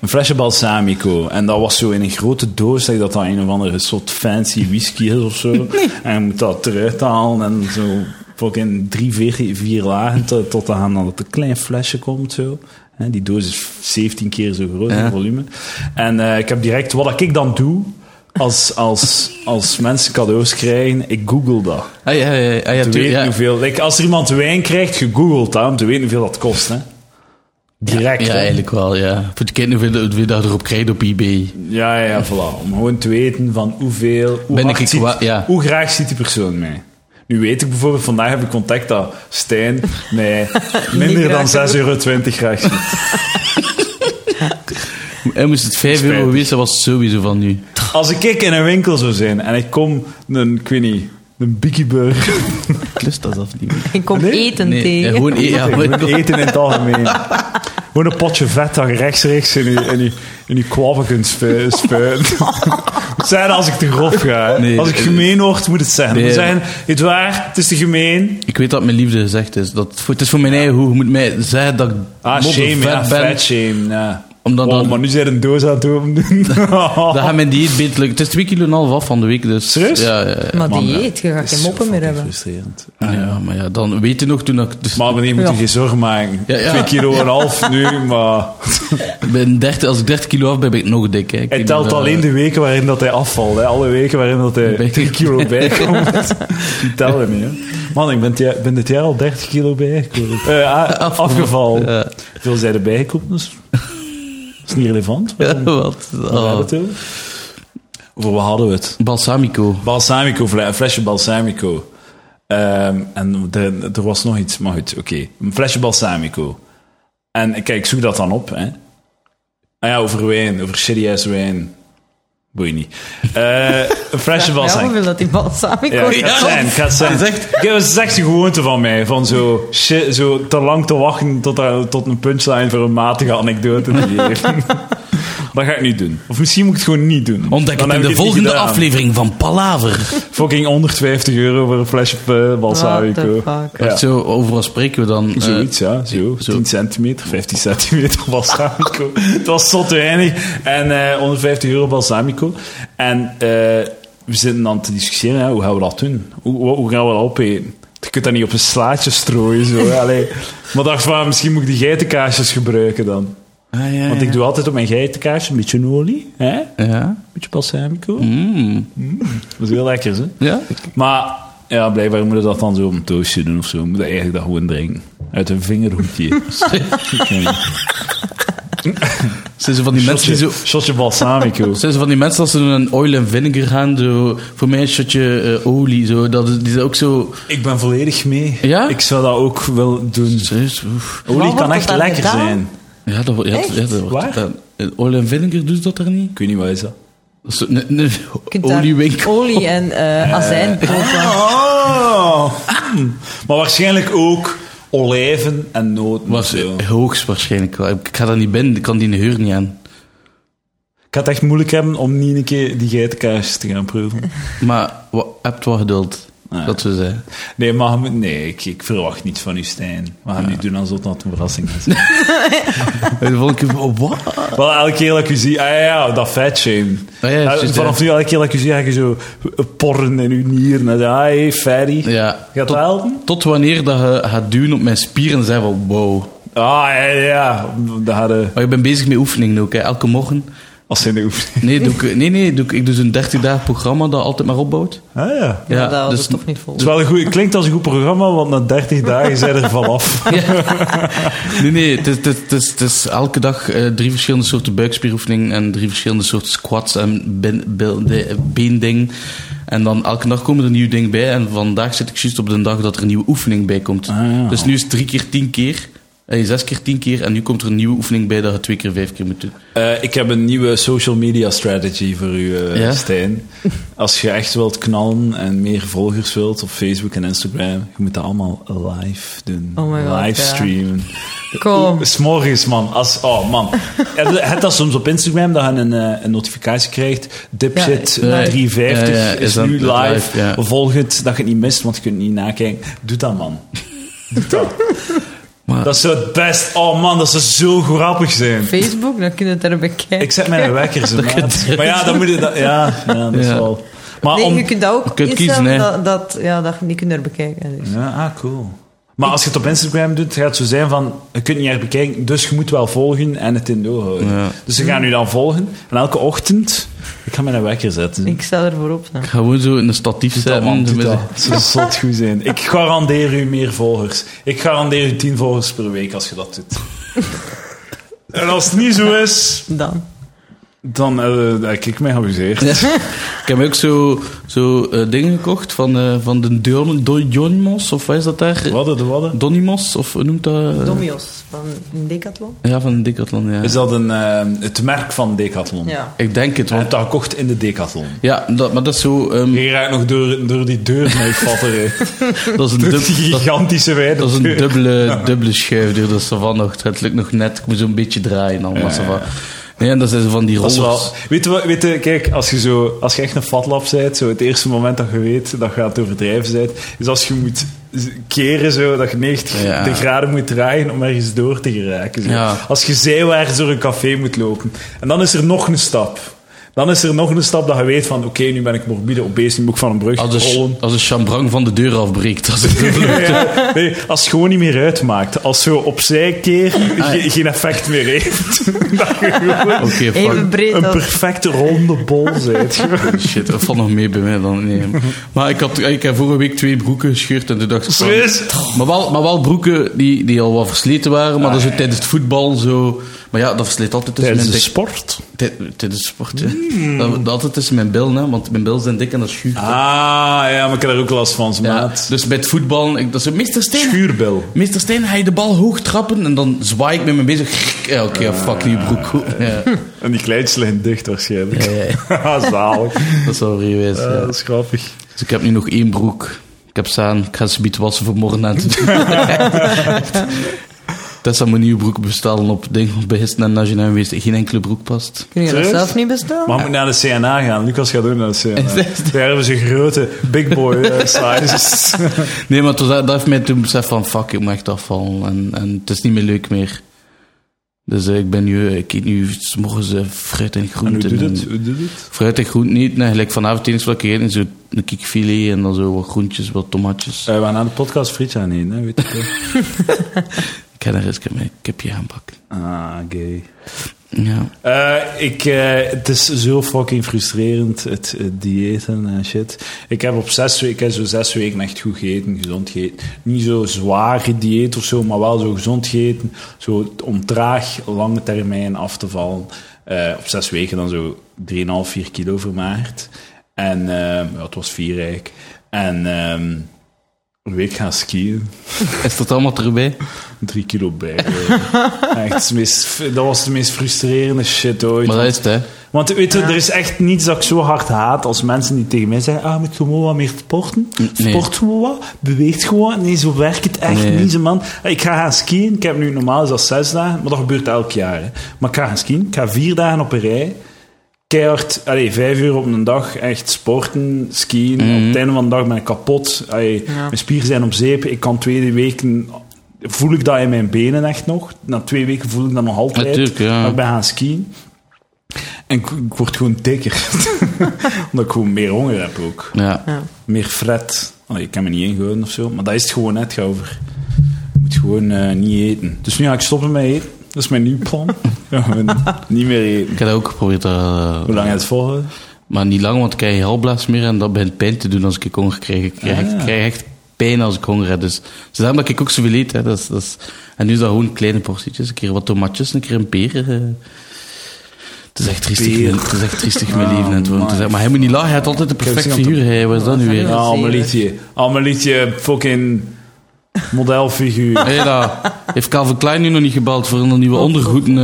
Een flesje balsamico. En dat was zo in een grote doos. Dat je dat dan een of andere soort fancy whisky is of zo. En je moet dat eruit halen. En zo fucking drie, vier, vier lagen. Tot, tot aan dat het een klein flesje komt zo. Hè, Die doos is 17 keer zo groot in Ja. volume. En eh, ik heb direct... Wat ik dan doe... Als, als, als mensen cadeaus krijgen, ik google dat. Ah, ja, ja, ja, ja, Te tuur- weten ja. hoeveel, like, als er iemand wijn krijgt, gegoogeld hè, om te weten hoeveel dat kost. Hè. Direct. Ja, hè. eigenlijk wel, ja. Voor de kinderen hoeveel hoeveel dat erop krijgt op eBay. Ja, ja, voilà. Om gewoon te weten van hoeveel... Hoe, Ben hard ik ik ziet- wa- ja. hoe graag ziet die persoon mij? Nu weet ik bijvoorbeeld, vandaag heb ik contact dat Stijn (laughs) mij minder dan graag 6,20 euro graag ziet. En moest het 5 euro Spijtig. geweest, dat was sowieso van nu. Als ik in een winkel zou zijn en ik kom een, ik weet niet, een Biggie (laughs) Burger Klus dat af niet. Ik kom Nee? eten Nee, tegen. eh, gewoon e- ja, gewoon gewoon- eten in het algemeen. Gewoon een potje vet dat je rechtstreeks in je, in je, in je kwabben kunt spu- (laughs) spuiten. (laughs) Het zijn als ik te grof ga. hè. Nee, als ik eh, gemeen word, moet het zijn. nee, Het zijn, het waar, het is te gemeen. Ik weet dat mijn liefde gezegd is. Dat, het voor- het is voor mijn eigen hoe. Je moet mij zeggen dat ik Ah, modder shame, ja, vet ben. fat shame. Ja. Omdat Wow, dan- maar nu zijn een doos aan het Oh, open (laughs) doen. Dat gaat mijn dieet beter lukken. Het is twee kilo en een half af van de week, dus... Serieus? Ja, ja, ja. Maar Man, dieet, je gaat geen moppen meer hebben. frustrerend. ja, maar ja, dan weet je nog toen ik... Dus Maar wanneer moet je Ja. geen zorgen maken? Ja, ja. Twee kilo en een half (laughs) nu, maar... ben 30, als ik 30 kilo af ben, ben ik nog dik. Hè. Ik Hij weet telt niet of, eh, alleen de weken waarin dat hij afvalt. Hè. Alle weken waarin dat hij Bij- 10 kilo (laughs) bijkomt. Die tellen niet, hè. Man, ik ben, het jaar- ben dit jaar al 30 kilo bijgekomen. Eh, (laughs) a- afgevallen. Ja. Veel zijn er (laughs) bijgekomen, dus... Dat is niet relevant. (laughs) Ja, wat? Waar hebben Oh. we het over? Voor wat hadden we het? Balsamico. Balsamico, vle- een flesje balsamico. Ehm, en er, er was nog iets, maar goed, oké. Een flesje balsamico. En ik- kijk, ik zoek dat dan op. Hè. Ah ja, over wijn, over shitty ass wijn. Boeit niet. Eh, een flesje Ja, balsamico. hoeveel dat die balsamico Ja, ik ja. ga het zijn, ik ga het zijn. Dat is echt- Ik heb- dat is echt een gewoonte van mij, van zo, shit, zo te lang te wachten tot, er- tot een punchline voor een matige anekdote (laughs) te geven. dat ga ik niet doen. Of misschien moet ik het gewoon niet doen. Ontdek Dan heb het in de ik het niet volgende gedaan. aflevering van Palaver. Fucking 150 euro voor een flesje eh, balsamico. What the (laughs) fuck? Ja. Echt Zo, over wat spreken we dan? Eh, Zoiets, ja. Zo. 10 centimeter, 15 centimeter (laughs) balsamico. het was zot weinig. En eh 150 euro balsamico. En eh, we zitten dan te discussiëren, hè, hoe gaan we dat doen? Hoe, hoe- hoe gaan we dat opeten? Je kunt dat niet op een slaatje strooien. Zo. (laughs) hè, allee. Maar dacht van, misschien moet ik die geitenkaasjes gebruiken dan. ah, ja, Want ja. ik doe altijd op mijn geitenkaasje een beetje olie. Hè? Een Ja? beetje balsamico. Mm. Dat is heel lekker, hè? Ja? Maar ja, blijkbaar moeten we dat dan zo op een doosje doen of zo. We moeten eigenlijk dat gewoon drinken. Uit een (laughs) vingerhoekje. Zijn ze van die mensen die zo... Shotje balsamico. Zijn ze van die mensen als ze een oil en vinegar gaan, zo, voor mij een shotje eh, olie, zo, dat, is- die zijn ook zo... Ik ben volledig mee. Ja? Ik zou dat ook wel doen. Serieus? oef. Olie Waar kan wordt echt dat dan lekker gedaan? zijn. Ja, dat, wordt- ja, Echt? ja, dat wordt- Waar? dat- eh, oil en vinegar doet dat er niet? Ik weet niet, wat is dat? Dat is zo- ne- ne- Je kunt daar Oliewinkel. Olie en eh, azijn kopen. Oh! Maar waarschijnlijk ook olijven en noten. Was zo. eh, hoogstwaarschijnlijk wel. Ik ga daar niet binnen, ik kan die huur niet aan. Ik ga het echt moeilijk hebben om niet een keer die geitenkaasjes te gaan proeven. Maar wa, hebt wat geduld, Ja. dat we zeggen. Nee, maar je moet- nee, ik, ik verwacht niet van u, Stijn. We gaan niet doen alsof dat een verrassing is. (laughs) En de volgende keer, oh, wat? Wel, elke keer dat ik u zie, ah ja, dat fat shame. Ah ja, Eh, juist, Vanaf nu, elke keer dat ik u zie, ga je zo eh, porren in uw nieren. En, ah, hey, fatty. Ja. Gaat Tot- dat helpen? Tot wanneer dat je gaat duwen op mijn spieren en zeggen van wow. Ah, ja, ja. Dat hadden, Maar ik ben bezig met oefeningen ook, hè. elke morgen. als in de oefening. (laughs) Nee, doe ik, nee, nee doe ik, ik doe zo'n 30 dagen programma dat altijd maar opbouwt. Ah, ja. Ja, dat dus houdt het toch niet vol. Het, is wel een goeie- het klinkt als een goed programma, want na 30 dagen zijn er vanaf. (laughs) Nee, nee, het is, het is, het is, het is elke dag eh, drie verschillende soorten buikspieroefeningen en drie verschillende soorten squats en ben, bel- de- eh, beending. En dan elke dag komen er een nieuw ding bij en vandaag zit ik juist op de dag dat er een nieuwe oefening bij komt. Ah, ja. Dus nu is het drie keer tien keer, eh, zes keer tien keer en nu komt er een nieuwe oefening bij dat je twee keer vijf keer moet doen. Eh, ik heb een nieuwe social media strategy voor u, eh, Ja? Stijn. Als je echt wilt knallen en meer volgers wilt op Facebook en Instagram, je moet dat allemaal live doen. Oh my God, live ja. streamen. dus- Kom. S'morgens, man. Als, oh, man. heb je- heb je dat soms op Instagram, dat je een, eh, een notificatie krijgt. Dipshit Ja, ja. 350 Ja, ja, is, is dat- nu dat live. live, ja. Volg het, dat je het niet mist, want je kunt het niet nakijken. Doe dat, man. Doe dat. Maar- Dat zou het best... Oh, man, dat zou zo grappig zijn. Facebook, dan kun je het er bekijken. Ik zet mijn wekker, (laughs) zo, maat. kunt- Maar ja, dan moet je... Dat, ja, ja, dat is Ja. wel... Maar nee, om... je kunt dat ook Ah, kunt instellen kiezen, hè. dat, dat, ja, dat je niet kunt er bekijken. Dus. Ja, ah, cool. Maar als je het op Instagram doet, gaat het zo zijn van... Je kunt niet echt bekijken, dus je moet wel volgen en het in doorhouden. Ja. Dus ze gaan nu dan volgen. En elke ochtend... Ik ga mijn wekker zetten. Mm. Ik stel ervoor op. Nou. Ik ga gewoon zo in een statief dat, zetten. man, doe met- dat. Het zou zot goed zijn. Ik garandeer u meer volgers. Ik garandeer u 10 volgers per week als je dat (laughs) doet. En als het niet zo is, Dan. dan eh, heb ik mij geamuseerd. Ja. Ik heb ook zo, zo eh, dingen gekocht van, eh, van de Dion, Don- Donimos, of wat is dat daar? Wadden de wadden. Donimos, of hoe noemt dat? eh? Domios van Decathlon. Ja, van de Decathlon, ja. Is dat een, eh, het merk van Decathlon? Ja. Ik denk het, Hij heeft want... dat gekocht in de Decathlon. Ja, dat, maar dat is zo... ehm, Je raakt nog door, door die deur mee vatten. (laughs) hè. dat is een, (laughs) Door dub- die dat, gigantische wijde dat is een deur. dubbele, dubbele schuifdeur. Dat is zo van nog... Het lukt nog net. Ik moet zo'n beetje draaien dan. maar zo van- Nee, en dat zijn zo van die Dat is rollers. wel... Weet je, wat- weet je, kijk, als je, zo, als je echt een fatlap bent, zo het eerste moment dat je weet dat je aan het overdrijven bent, is als je moet z- keren, zo, dat je 90 Ja. de graden moet draaien om ergens door te geraken. Zo. Ja. Als je zijwaarts door een café moet lopen. En dan is er nog een stap. Dan is er nog een stap dat je weet van, oké, nu ben ik morbide obese, nu moet ik van een brug Als de, rollen. als de chambrang van de deur afbreekt. (laughs) Dat is een dubbele- Ja, nee, als het gewoon niet meer uitmaakt. Als zo opzij keer ge- geen effect meer heeft. dat je gewoon Oké, fuck. Even breed een als... perfecte ronde bol bent. Shit, dat valt nog mee bij mij dan. Nee. Maar ik, had, ik heb vorige week twee broeken gescheurd en toen dacht ik... van- Serieus? Maar wel, maar wel broeken die, die al wat versleten waren, maar dat zo tijdens het voetbal zo... Maar ja, dat versleet altijd tussen Ah, Tijdens de mijn dik. sport. Tij- Tijdens de sport, ja. Dat, dat altijd tussen mijn billen, hè, want mijn billen zijn dik en dat schuurt. Ah, ja, maar ik heb daar ook last van, Ja, maat. Dus bij het voetballen, ik, dat is meester Steen. Schuurbil. Meester Steen, ga je de bal hoog trappen en dan zwaai ik met mijn bezig. Ja, oké, Ah. ja, fuck die broek. (laughs) Ja, En die kleintjes liggen dicht waarschijnlijk. Ah, Ja, (laughs) ja. Zalig. dat zou er geweest. Ja, ja. dat is grappig. Dus ik heb nu nog één broek. Ik heb staan, ik ga ze biet wassen voor morgen (laughs) aan te doen. Tessa moet nieuwe broek bestellen op ding, bij Histen en Nationaal geweest. Geen enkele broek past. Kun je dat Serieus? zelf niet bestellen? Maar we moeten naar de CNA gaan. Lucas gaat ook naar de (laughs) CNA. Daar hebben ze grote big boy (laughs) eh, sizes. Nee, maar toen, dat dat heeft mij toen beseft van fuck, ik moet echt afvallen. En, en het is niet meer leuk meer. Dus eh, ik ben nu, eh, ik eet nu 's morgens eh, fruit en en hoe groenten. doet en- het? Hoe doet het? Fruit en groenten niet. Nee, gelijk vanavond eens wat ik eet, is zo een kikfilet en dan zo wat groentjes, wat tomatjes. Eh, we gaan aan de podcast frietje aan eten, hè, weet je wel. Ik ga daar eens een keer mijn kipje aanpakken. Ah, gay. Ja. Eh, ik, eh, het is zo fucking frustrerend, het, het diëten en eh, shit. Ik heb op zes weken, ik heb zo zes weken echt goed gegeten, gezond gegeten. Niet zo zwaar dieet of zo, maar wel zo gezond gegeten. Zo om traag lange termijn af te vallen. Eh, op zes weken dan zo 3,5, 4 kilo vermaagd. En ehm, ja, het was vier eigenlijk. En ehm, een week gaan skiën Is dat allemaal erbij? drie kilo bij. (laughs) Echt, het meest, dat was de meest frustrerende shit ooit. Maar dat Want- is het, hè. Want weet je, er is echt niets dat ik zo hard haat als mensen die tegen mij zeggen: Ah, je moet gewoon wat meer sporten. nee. Sport gewoon wat, beweegt gewoon. Nee, zo werkt het echt Nee. niet, zo man. Ah, Ik ga gaan skiën. Ik heb nu normaal is dat zes dagen, maar dat gebeurt elk jaar. Hè. Maar ik ga gaan skiën. Ik ga vier dagen op een rij. Keihard, allee, vijf uur op een dag, echt sporten, skiën. Mhm. Op het einde van de dag ben ik kapot. Allee, Mijn spieren zijn op zeep. Ik kan twee weken... Voel ik dat in mijn benen echt nog? Na twee weken voel ik dat nog altijd. Natuurlijk, ja. Maar ik ben gaan skiën. En ik, ik word gewoon dikker. (laughs) Omdat ik gewoon meer honger heb ook. Ja. Ja. Meer fret. Allee, ik kan me niet ingehouden of zo. Maar dat is het gewoon net, over. Je moet gewoon eh, niet eten. Dus nu ga ik stoppen met eten. Dat is mijn nieuw plan. (laughs) Ja, gewoon niet meer eten. Ik heb dat ook geprobeerd, eh, Hoe lang gaat het volgen? maar niet lang, want ik krijg halblaas meer en dat begint pijn te doen als ik honger krijg. Ik krijg, Ah. ik krijg echt pijn als ik honger heb. Dus, dus daarom dat ik ook zoveel eet. Hè. Dat is, dat is, en nu is dat gewoon kleine portietjes. Een keer wat tomatjes, een keer een peer. eh. Het is echt triestig, Peer. mijn- het is echt triestig mijn Ah, leven. En man. maar hij moet niet lachen, hij had altijd de perfecte gezien dat- figuur. Hij was dat nu weer. Ja, Ja. Amelietje. Amelietje, fucking modelfiguur. Hey, daar. Heeft Calvin Klein nu nog niet gebeld voor een nieuwe Oh, ondergoeden?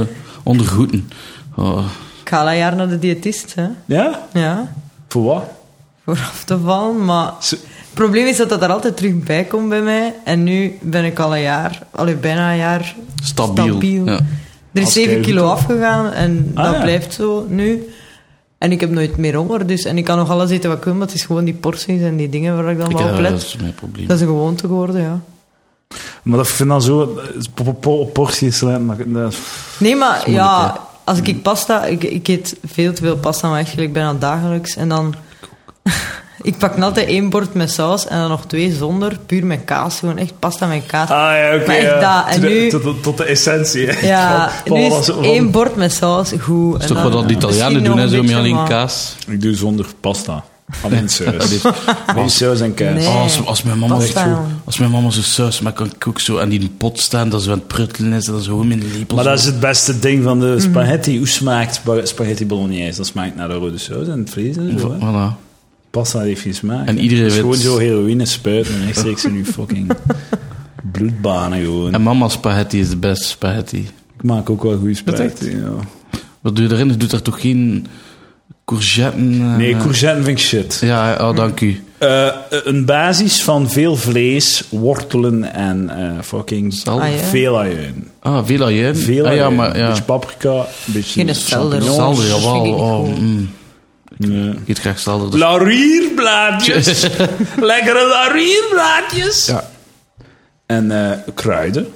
eh, ondergoeden. Oh. Ik ga al een jaar naar de diëtist, hè. Ja? (laughs) Ja, Voor wat? voor af te vallen, maar... Ze- Het probleem is dat dat er altijd terug bij komt bij mij. En nu ben ik al een jaar, allee, bijna een jaar Stabiel, ja. Er is Als 7 keigoed, kilo hoor. afgegaan en Ah, dat ja. blijft zo nu. En ik heb nooit meer honger, dus... En ik kan nog alles eten wat ik wil, maar het is gewoon die porties en die dingen waar ik dan Ik, wel eh, op dat let. is mijn probleem. Dat is een gewoonte geworden, ja. Maar dat vind ik dan zo... eh, po- po- po- Porties... slaan, maar dat- Nee, maar moeilijk, Mm. ja, als ik, ik pasta... Ik, ik eet veel te veel pasta, maar eigenlijk bijna dagelijks. En dan... (laughs) ik pak altijd één bord met saus en dan nog twee zonder. Puur met kaas. Gewoon echt pasta met kaas. Ah ja, oké. Maar echt ja. dat, en Tot de- nu- tot, de- tot de essentie. hè. ja, Van- nu van- is van- één bord met saus goed. Dat is toch wat dat de Italianen doen, hè, zo met alleen kaas. Ik doe zonder pasta. (laughs) Alleen saus. Alleen saus en kaas. Nee. Oh, als, als mijn mama Pasta. zo, als mijn mama zo saus maakt, kan ik ook zo aan die pot staan, dat ze aan het pruttelen is, en dat ze gewoon mijn lepel Maar zo- dat is het beste ding van Mhm. de spaghetti. Hoe smaakt spa- spaghetti bolognese? Dat smaakt naar de rode saus en het vlees en zo. hè. Voilà. Pasta heeft geen smaak. En hè. iedereen Het is weet- gewoon zo heroïne spuiten en rechtstreeks in je (laughs) fucking bloedbanen gewoon. En mama's spaghetti is de beste spaghetti. Ik maak ook wel goede spaghetti. ja. Wat doe je erin? Je doet er toch geen courgetten? eh, Nee, courgetten vind ik shit. Ja, oh, dank u. Eh, een basis van veel vlees, wortelen en eh, fucking Zal- Ah, ja. veel ajuin. Ah, veel ajuin. Veel ah, ja, ajuin. maar Een ja. beetje paprika, een beetje Geen selder. champignons. Salder, jawel. Dat vind ik Oh, niet goed. mm. Nee. Ik eet graag salder. dus- (laughs) Laurierblaadjes. Lekkere laurierblaadjes. En eh, kruiden.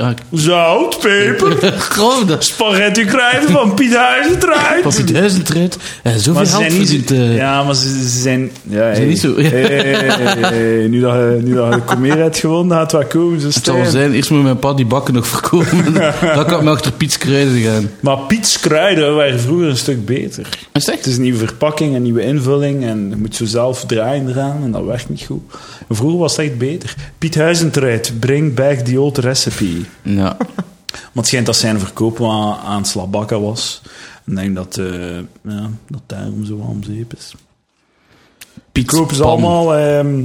Ah, (laughs) Zout, peper. Gewoon dat. Spaghetti kruiden van Piet Huizentruid. Papi duizend eruit. En zoveel geld verdient. eh, Ja, maar ze, ze zijn... Ja, hey. niet zo- Hey, hey, hey, hey. Nu dat je, nu dat je Comer hebt gewonnen, gaat het wel komen. Ze Het zal wel staan. zijn, eerst moet mijn pa die bakken nog (laughs) verkopen. dan kan ik me achter Piets Kruiden gaan. Maar Piet's kruiden waren vroeger een stuk beter. Is Het is een nieuwe verpakking, een nieuwe invulling en je moet zo zelf draaien eraan en dat werkt niet goed. En vroeger was het echt beter. Piet Huizentruid, bring back the old recipe. Ja. Maar het schijnt dat zijn verkoop wel aan, aan slabakken was. Ik denk dat, eh ja, dat daarom zo wel om zeep is. Piet Kopen ze Span. allemaal, ehm,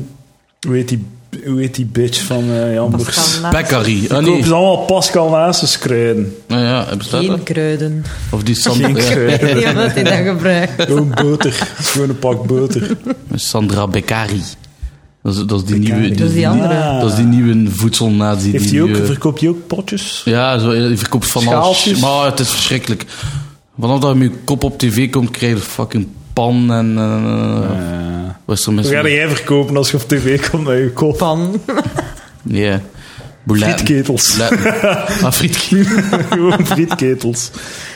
hoe, heet die, hoe heet die bitch van eh Jan Boers? Pascal Naas. Peccari. Ah, Kopen nee. ze allemaal Pascal Nasus kruiden. Ah, ja, hij bestaat dat? Geen kruiden. Of die Geen Sandra, ja. kruiden. (laughs) Die hebben dat in dat gebruikt. Gewoon boter. Gewoon een pak boter. Sandra Beccari. Dat is, dat is die Beccari. nieuwe... Dat is die andere. Ja. Dat is die nieuwe voedselnazi. Heeft die hij ook, nu, eh, verkoopt hij ook potjes? Ja, zo, je verkoopt van Schaaltjes. alles. Maar het is verschrikkelijk. Vanaf dat je met je kop op tv komt, krijg je fucking pan en... eh, Eh, wat is er Wat mis? ga mee? jij verkopen als je op tv komt met je kop? Pan. Ja. Bouletten. Frietketels. (laughs) Bouletten. Ah, frietketels. Gewoon frietketels.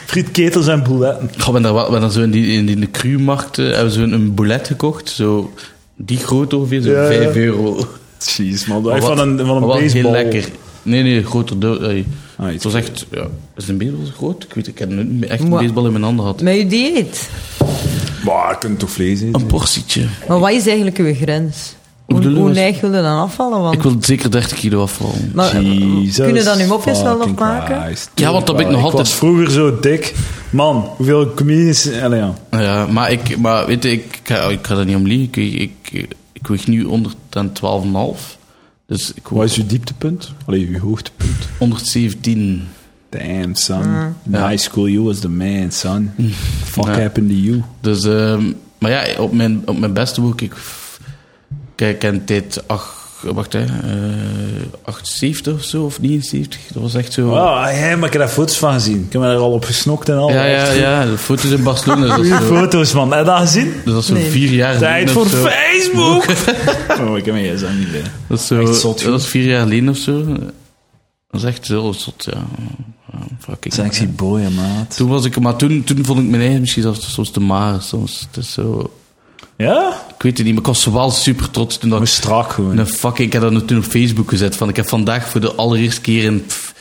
Frietketels en bouletten. Goh, Ik ben daar wel, ben daar zo in die, in die cru-markt, eh, hebben we zo'n een boulet gekocht. Zo, die groot ongeveer, zo Ja, ja. 5 euro. Jeez, man. Maar wat- Van een, van maar een wel baseball. heel lekker. Nee, nee, groter. dood. eh. Ah, iets het was echt... Ja, is een baseball zo groot? Ik weet het, ik heb nooit echt een Maar- baseball in mijn handen gehad. Met je dieet. Maar je kunt toch vlees Een eten? portietje. Maar wat is eigenlijk uw grens? Hoe, bedoel je, hoe wat- neig wil je dan afvallen? Want, Ik wil zeker 30 kilo afvallen. Nou, maar, eh, kunnen we dan uw mopjes wel nog fucking maken? Christ. Ja, want dat ben ik nog altijd- was vroeger zo dik. Man, hoeveel comedians... Allee, ja. Ja, maar, ik, maar weet je, ik, ik, ga, oh, ik ga er niet om liegen. Ik, ik, ik weeg nu 112,5. Dus ik Wat was is uw dieptepunt? Allee, uw hoogtepunt. 117. Damn, son. Mm. In high school, you was the man, son. Fuck Ja. happened to you? Dus, ehm, maar ja, op mijn, op mijn beste woek, ik, kijk, en tijd 8, wacht hè, eh 78 of zo, of 79. Dat was echt zo. Oh, ja, maar ik heb daar foto's van gezien. Ik heb me daar al op gesnokt en al. Ja, ja, ja, de foto's in Barcelona. Dus Goeie dat is zo, foto's, man. Heb je dat gezien? dus dat is zo Nee. vier jaar Tijd geleden. voor of zo. (laughs) Facebook! oh, ik heb mijn gsm niet bij. Dat is, zo, Echt zot, joh. dat is vier jaar geleden of zo. Dat is echt heel zot, ja. Ja, fuck, ik- Sexy boy, maat. Toen was ik, maar toen, toen vond ik mijn eigen misschien zelfs soms te maar. Soms, het is zo, Ja? ik weet het niet, maar ik was wel super trots toen dat Maar ik... strak gewoon. Nou, fuck, ik heb dat toen op Facebook gezet. Van, ik heb vandaag voor de allereerste keer in pff,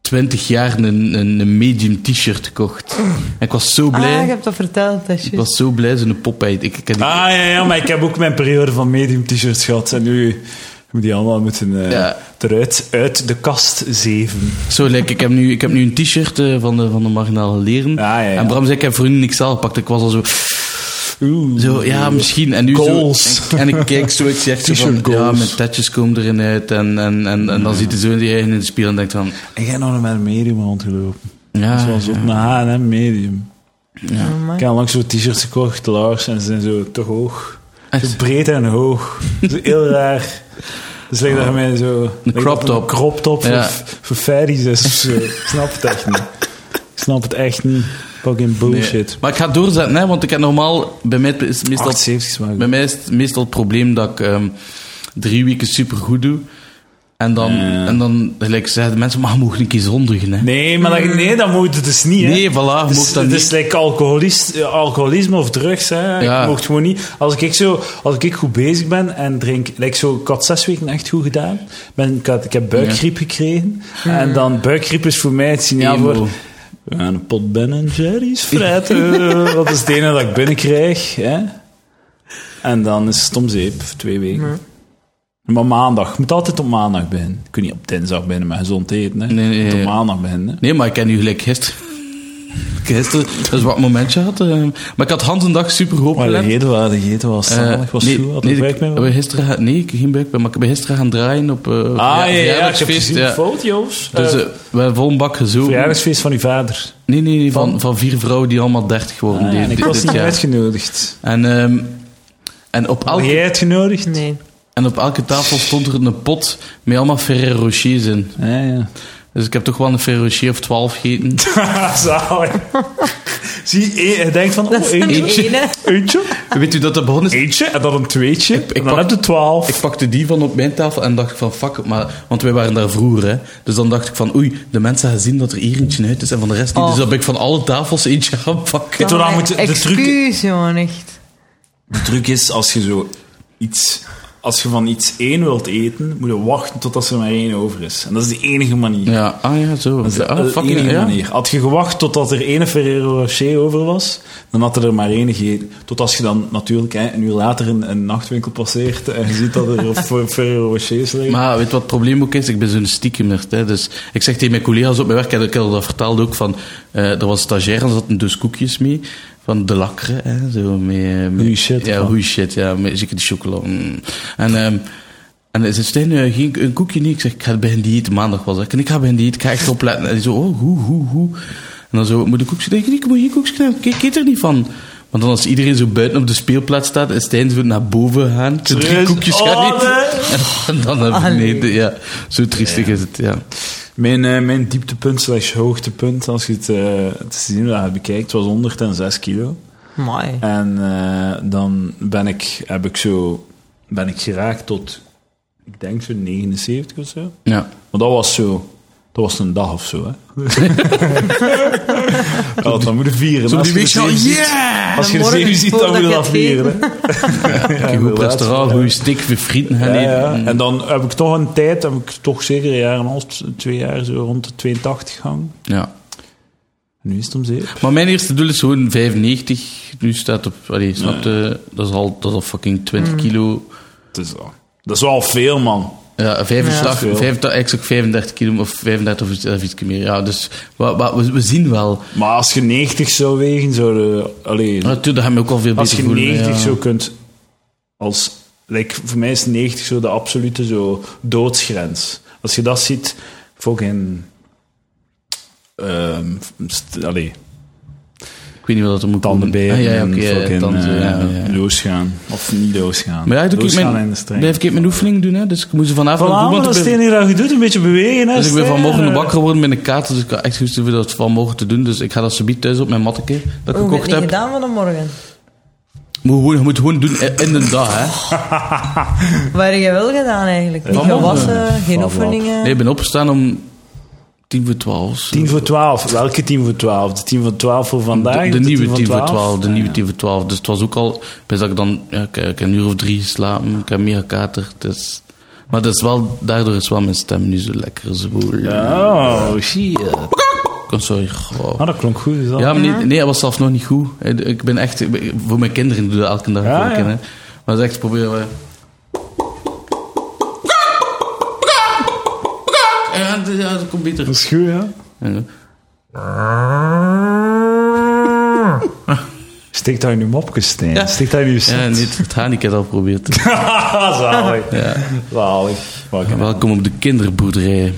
20 jaar een, een, een medium t-shirt gekocht. En ik was zo blij. Ah, ik heb dat verteld, dat is Ik juist. was zo blij, zo'n Popeye. Ik, ik heb die, Ah, ja, ja, maar ik heb ook mijn periode van medium t-shirts gehad. En nu moet die allemaal moeten eh, Ja. eruit uit de kast zeven. Zo, like, ik, heb nu, ik heb nu een t-shirt eh, van de, van de marginale leren. Ah, ja, ja. En Bram zei, ik heb voor hun niks aangepakt. Ik was al zo, Oeh. zo ja, misschien. En nu Goals. zo... En, en ik kijk zo, ik zeg zo van... T-shirt goals. Ja, mijn tetjes komen erin uit. En, en, en, en dan ziet hij zo in die eigen in de spiegel en denkt van... En jij nog met een medium rondgelopen. Ah, Ja, Zoals op mijn H&M medium. Amai. Ik heb langs zo'n t-shirts gekocht, Lars, en ze zijn zo te hoog. Zo Echt? breed en hoog. Zo heel raar. Dus lijkt dat je mij zo... lijkt dat crop het top. Een crop top Ja. voor, voor fairies is of zo. Ik snap het echt niet. Ik snap het echt niet. Fucking bullshit. Nee. Maar ik ga doorzetten, hè, want ik heb normaal... Bij mij is het meestal, 78 is wel goed. bij mij is het meestal het probleem dat ik ehm, drie weken supergoed doe. En dan, Ja. en dan gelijk zeggen de mensen, maar je mag een keer zondigen, hè. Hmm. Nee, maar dat, nee, dat moet het dus niet. Hè. Mm. Nee, voilà, je Het is- mocht dat het niet. is like alcoholist, eh, alcoholisme of drugs. Hè. Ja. Je mocht gewoon niet. Als ik, zo, als ik goed bezig ben en drink. Like zo, ik had zes weken echt goed gedaan. Ben, ik, had, ik heb buikgriep gekregen. En dan buikgriep is voor mij het signaal Mm. Emo. voor. We gaan een pot Ben en Jerry's (laughs) fretten. dat is het ene dat ik binnenkrijg. Hè. En dan is het om zeep, twee weken. Maar maandag, je moet altijd op maandag beginnen. Je kunt niet op dinsdag beginnen met gezond eten. Hè. Nee, nee, Je moet op ja. maandag beginnen. hè. Nee, maar ik ken nu gelijk gisteren. (laughs) Gisteren, dat is wat momentje had. eh, maar ik had hand en dag super goed Maar opgelet. de reden waar de gegeten was Eh, zalig, was nee, goed, had nee, er buik ik- mee we wel. gisteren gaan, nee, ik heb geen buik bij, maar ik ben gisteren gaan draaien op eh Ah, verja- verjaardagsfeest, ja. foto's. Dus eh, we hebben vol een bak gezogen. verjaardagsfeest van uw vader. Nee, nee, nee, van, van vier vrouwen die allemaal 30 geworden Ah, die- en ik dit, was dit niet jaar. uitgenodigd. En, ehm, en, op Had elke, jij uitgenodigd? Oh, Nee. en op elke tafel stond er een pot met allemaal Ferrero Rochers in. Ja, ja. Dus ik heb toch wel een Ferrero Rocher of 12 gegeten. Ah, Zalig. (laughs) Zie, eh, je denkt van, Dat is oh, een eentje, ene. eentje, (laughs) Weet u dat dat begonnen is? eentje, en dan een tweetje, Ik- ik en dan pak- heb je twaalf. Ik pakte die van op mijn tafel en dacht van fuck, maar, want wij waren daar vroeger. Hè. Dus dan dacht ik van oei, de mensen gaan zien dat er hier eentje uit is en van de rest niet. Oh. Dus dan ben ik van alle tafels eentje gaan pakken. Weet je wat dan moet- de truc- Excuus, jongen, echt. De truc is, als je zo iets als je van iets één wilt eten, moet je wachten totdat er maar één over is. En dat is de enige manier. Ja, ah ja, zo. Dat is de ah, fucking Eh, enige ja. manier. Had je gewacht totdat er één Ferrero Rocher over was, dan had er er maar één gegeten. Tot als je dan natuurlijk hè, een uur later een, een nachtwinkel passeert en je ziet dat er op voor Ferrero Rochers liggen. Maar weet je wat het probleem ook is? Ik ben zo'n stiekemerd. Hè. Dus ik zeg tegen mijn collega's op mijn werk, en ik had dat verteld ook, van, eh, er was een stagiair en er zaten dus koekjes mee. Van de lakkere, hè, zo met... eh, met- Goeie shit, Ja, man. goeie shit, ja. Met zeker de chocola. mm. En... ehm en hij zei, Stijn, eh, geen, een koekje niet. Ik zeg, ik ga bij een dieet. Maandag was dat. En ik ga bij een dieet, ik ga echt opletten. En hij zo, oh, hoe, hoe, hoe. En dan zo, moet ik koekje denken? Ik moet geen koekje nemen. Ik ik eet er niet van. Want dan als iedereen zo buiten op de speelplaats staat, is Stijn zo naar boven gaan. Zo drie Serieus? koekjes Oh, gaan eten. nee. En (laughs) dan naar Allee. beneden, ja. Zo triestig is het, ja. Mijn, eh, mijn dieptepunt slash hoogtepunt, als je het, eh het seizoen bekijkt, was 106 kilo. Mooi. En eh, dan ben ik, heb ik zo, ben ik geraakt tot, ik denk zo 79 of zo. Ja. Maar dat was zo, dat was een dag of zo, hè. ja, dan moet je vieren. Zo Als die je de week al, zeven ziet- yeah! Als je de Morgen zeven ziet, dan voordat moet je je dat het weet. vieren, hè. Kijk, goed inderdaad. restaurant, Mm. goede stik, weer frieten gaan Ja, eten. ja. En dan heb ik toch een tijd, heb ik toch zeker een jaar en een half, twee jaar, zo rond de 82 gang. Ja. Nu is het om zeep. Maar mijn eerste doel is gewoon 95. Nu staat op, allee, snap je? Dat is al, dat is al fucking Mm. 20 kilo. Het is al- Dat is wel veel, man. Ja, Ja. 85, Veel. 85, eigenlijk 35 kilo of 35 of iets- of iets meer. Ja, dus wa- wa- we, we zien wel. Maar als je 90 zou wegen, zou je... Allee, Natuurlijk, dat gaat me ook al veel als beter je voelen. 90 ja. zo kunt... Als, like, voor mij is 90 zo de absolute zo, doodsgrens. Als je dat ziet, fucking... ehm st- allee, Ik weet niet wat dat er moet tanden komen. bij Ah, ja, ja, en oké, ja, fucking tanden, eh, ja, ja. losgaan. Of niet losgaan. Maar ja, doe ik losgaan mijn, in de streng. blijf ik mijn oefening doen, hè? dus ik moest er vanavond nog Voilà, doen, maar want dat ik is het ben- enige dat je doet, een beetje bewegen. Hè, eh, Dus ik ben Stijn. vanmorgen wakker geworden met een kaart, dus ik had echt goed voor dat vanmorgen te doen. Dus ik ga dat subiet thuis op mijn matteke dat ik Hoe heb je gekocht het niet heb. gedaan vanmorgen? Moet gewoon, je moet gewoon doen in in de dag, hè. Wat heb je wel gedaan eigenlijk? Niet Vanmorgen. gewassen, geen Vanmorgen. oefeningen. Nee, ik ben opgestaan om tien voor twaalf. 10 voor 12. Welke 10 voor 12? De 10 voor 12 voor vandaag? De, de nieuwe tien voor 12? twaalf, de nieuwe tien voor twaalf. Dus het was ook al, best dat ik dan, ja, ik, ik heb een uur of drie geslapen, ik heb meer kater, dus... Maar dat is wel, daardoor is wel mijn stem nu zo lekker zwoel. Oh, shit. Ik- Sorry, goh. Ah, dat klonk goed. Is dat? Ja, maar nee, nee, dat was zelf nog niet goed. Ik ben echt... ik ben- Voor mijn kinderen doe ik dat elke dag. Ja, voor mijn ja. kinderen. Maar dat is echt proberen... we- Ja, dat- ja, dat komt beter. Dat is goed, ja. Ja. Steek daar nu mopjes, Stijn. Ja. Steek daar nu eens. Ja, niet het gaan. Ik heb het al geprobeerd. (laughs) Zalig. Ja. Zalig. Oké, Welkom op de kinderboerderij.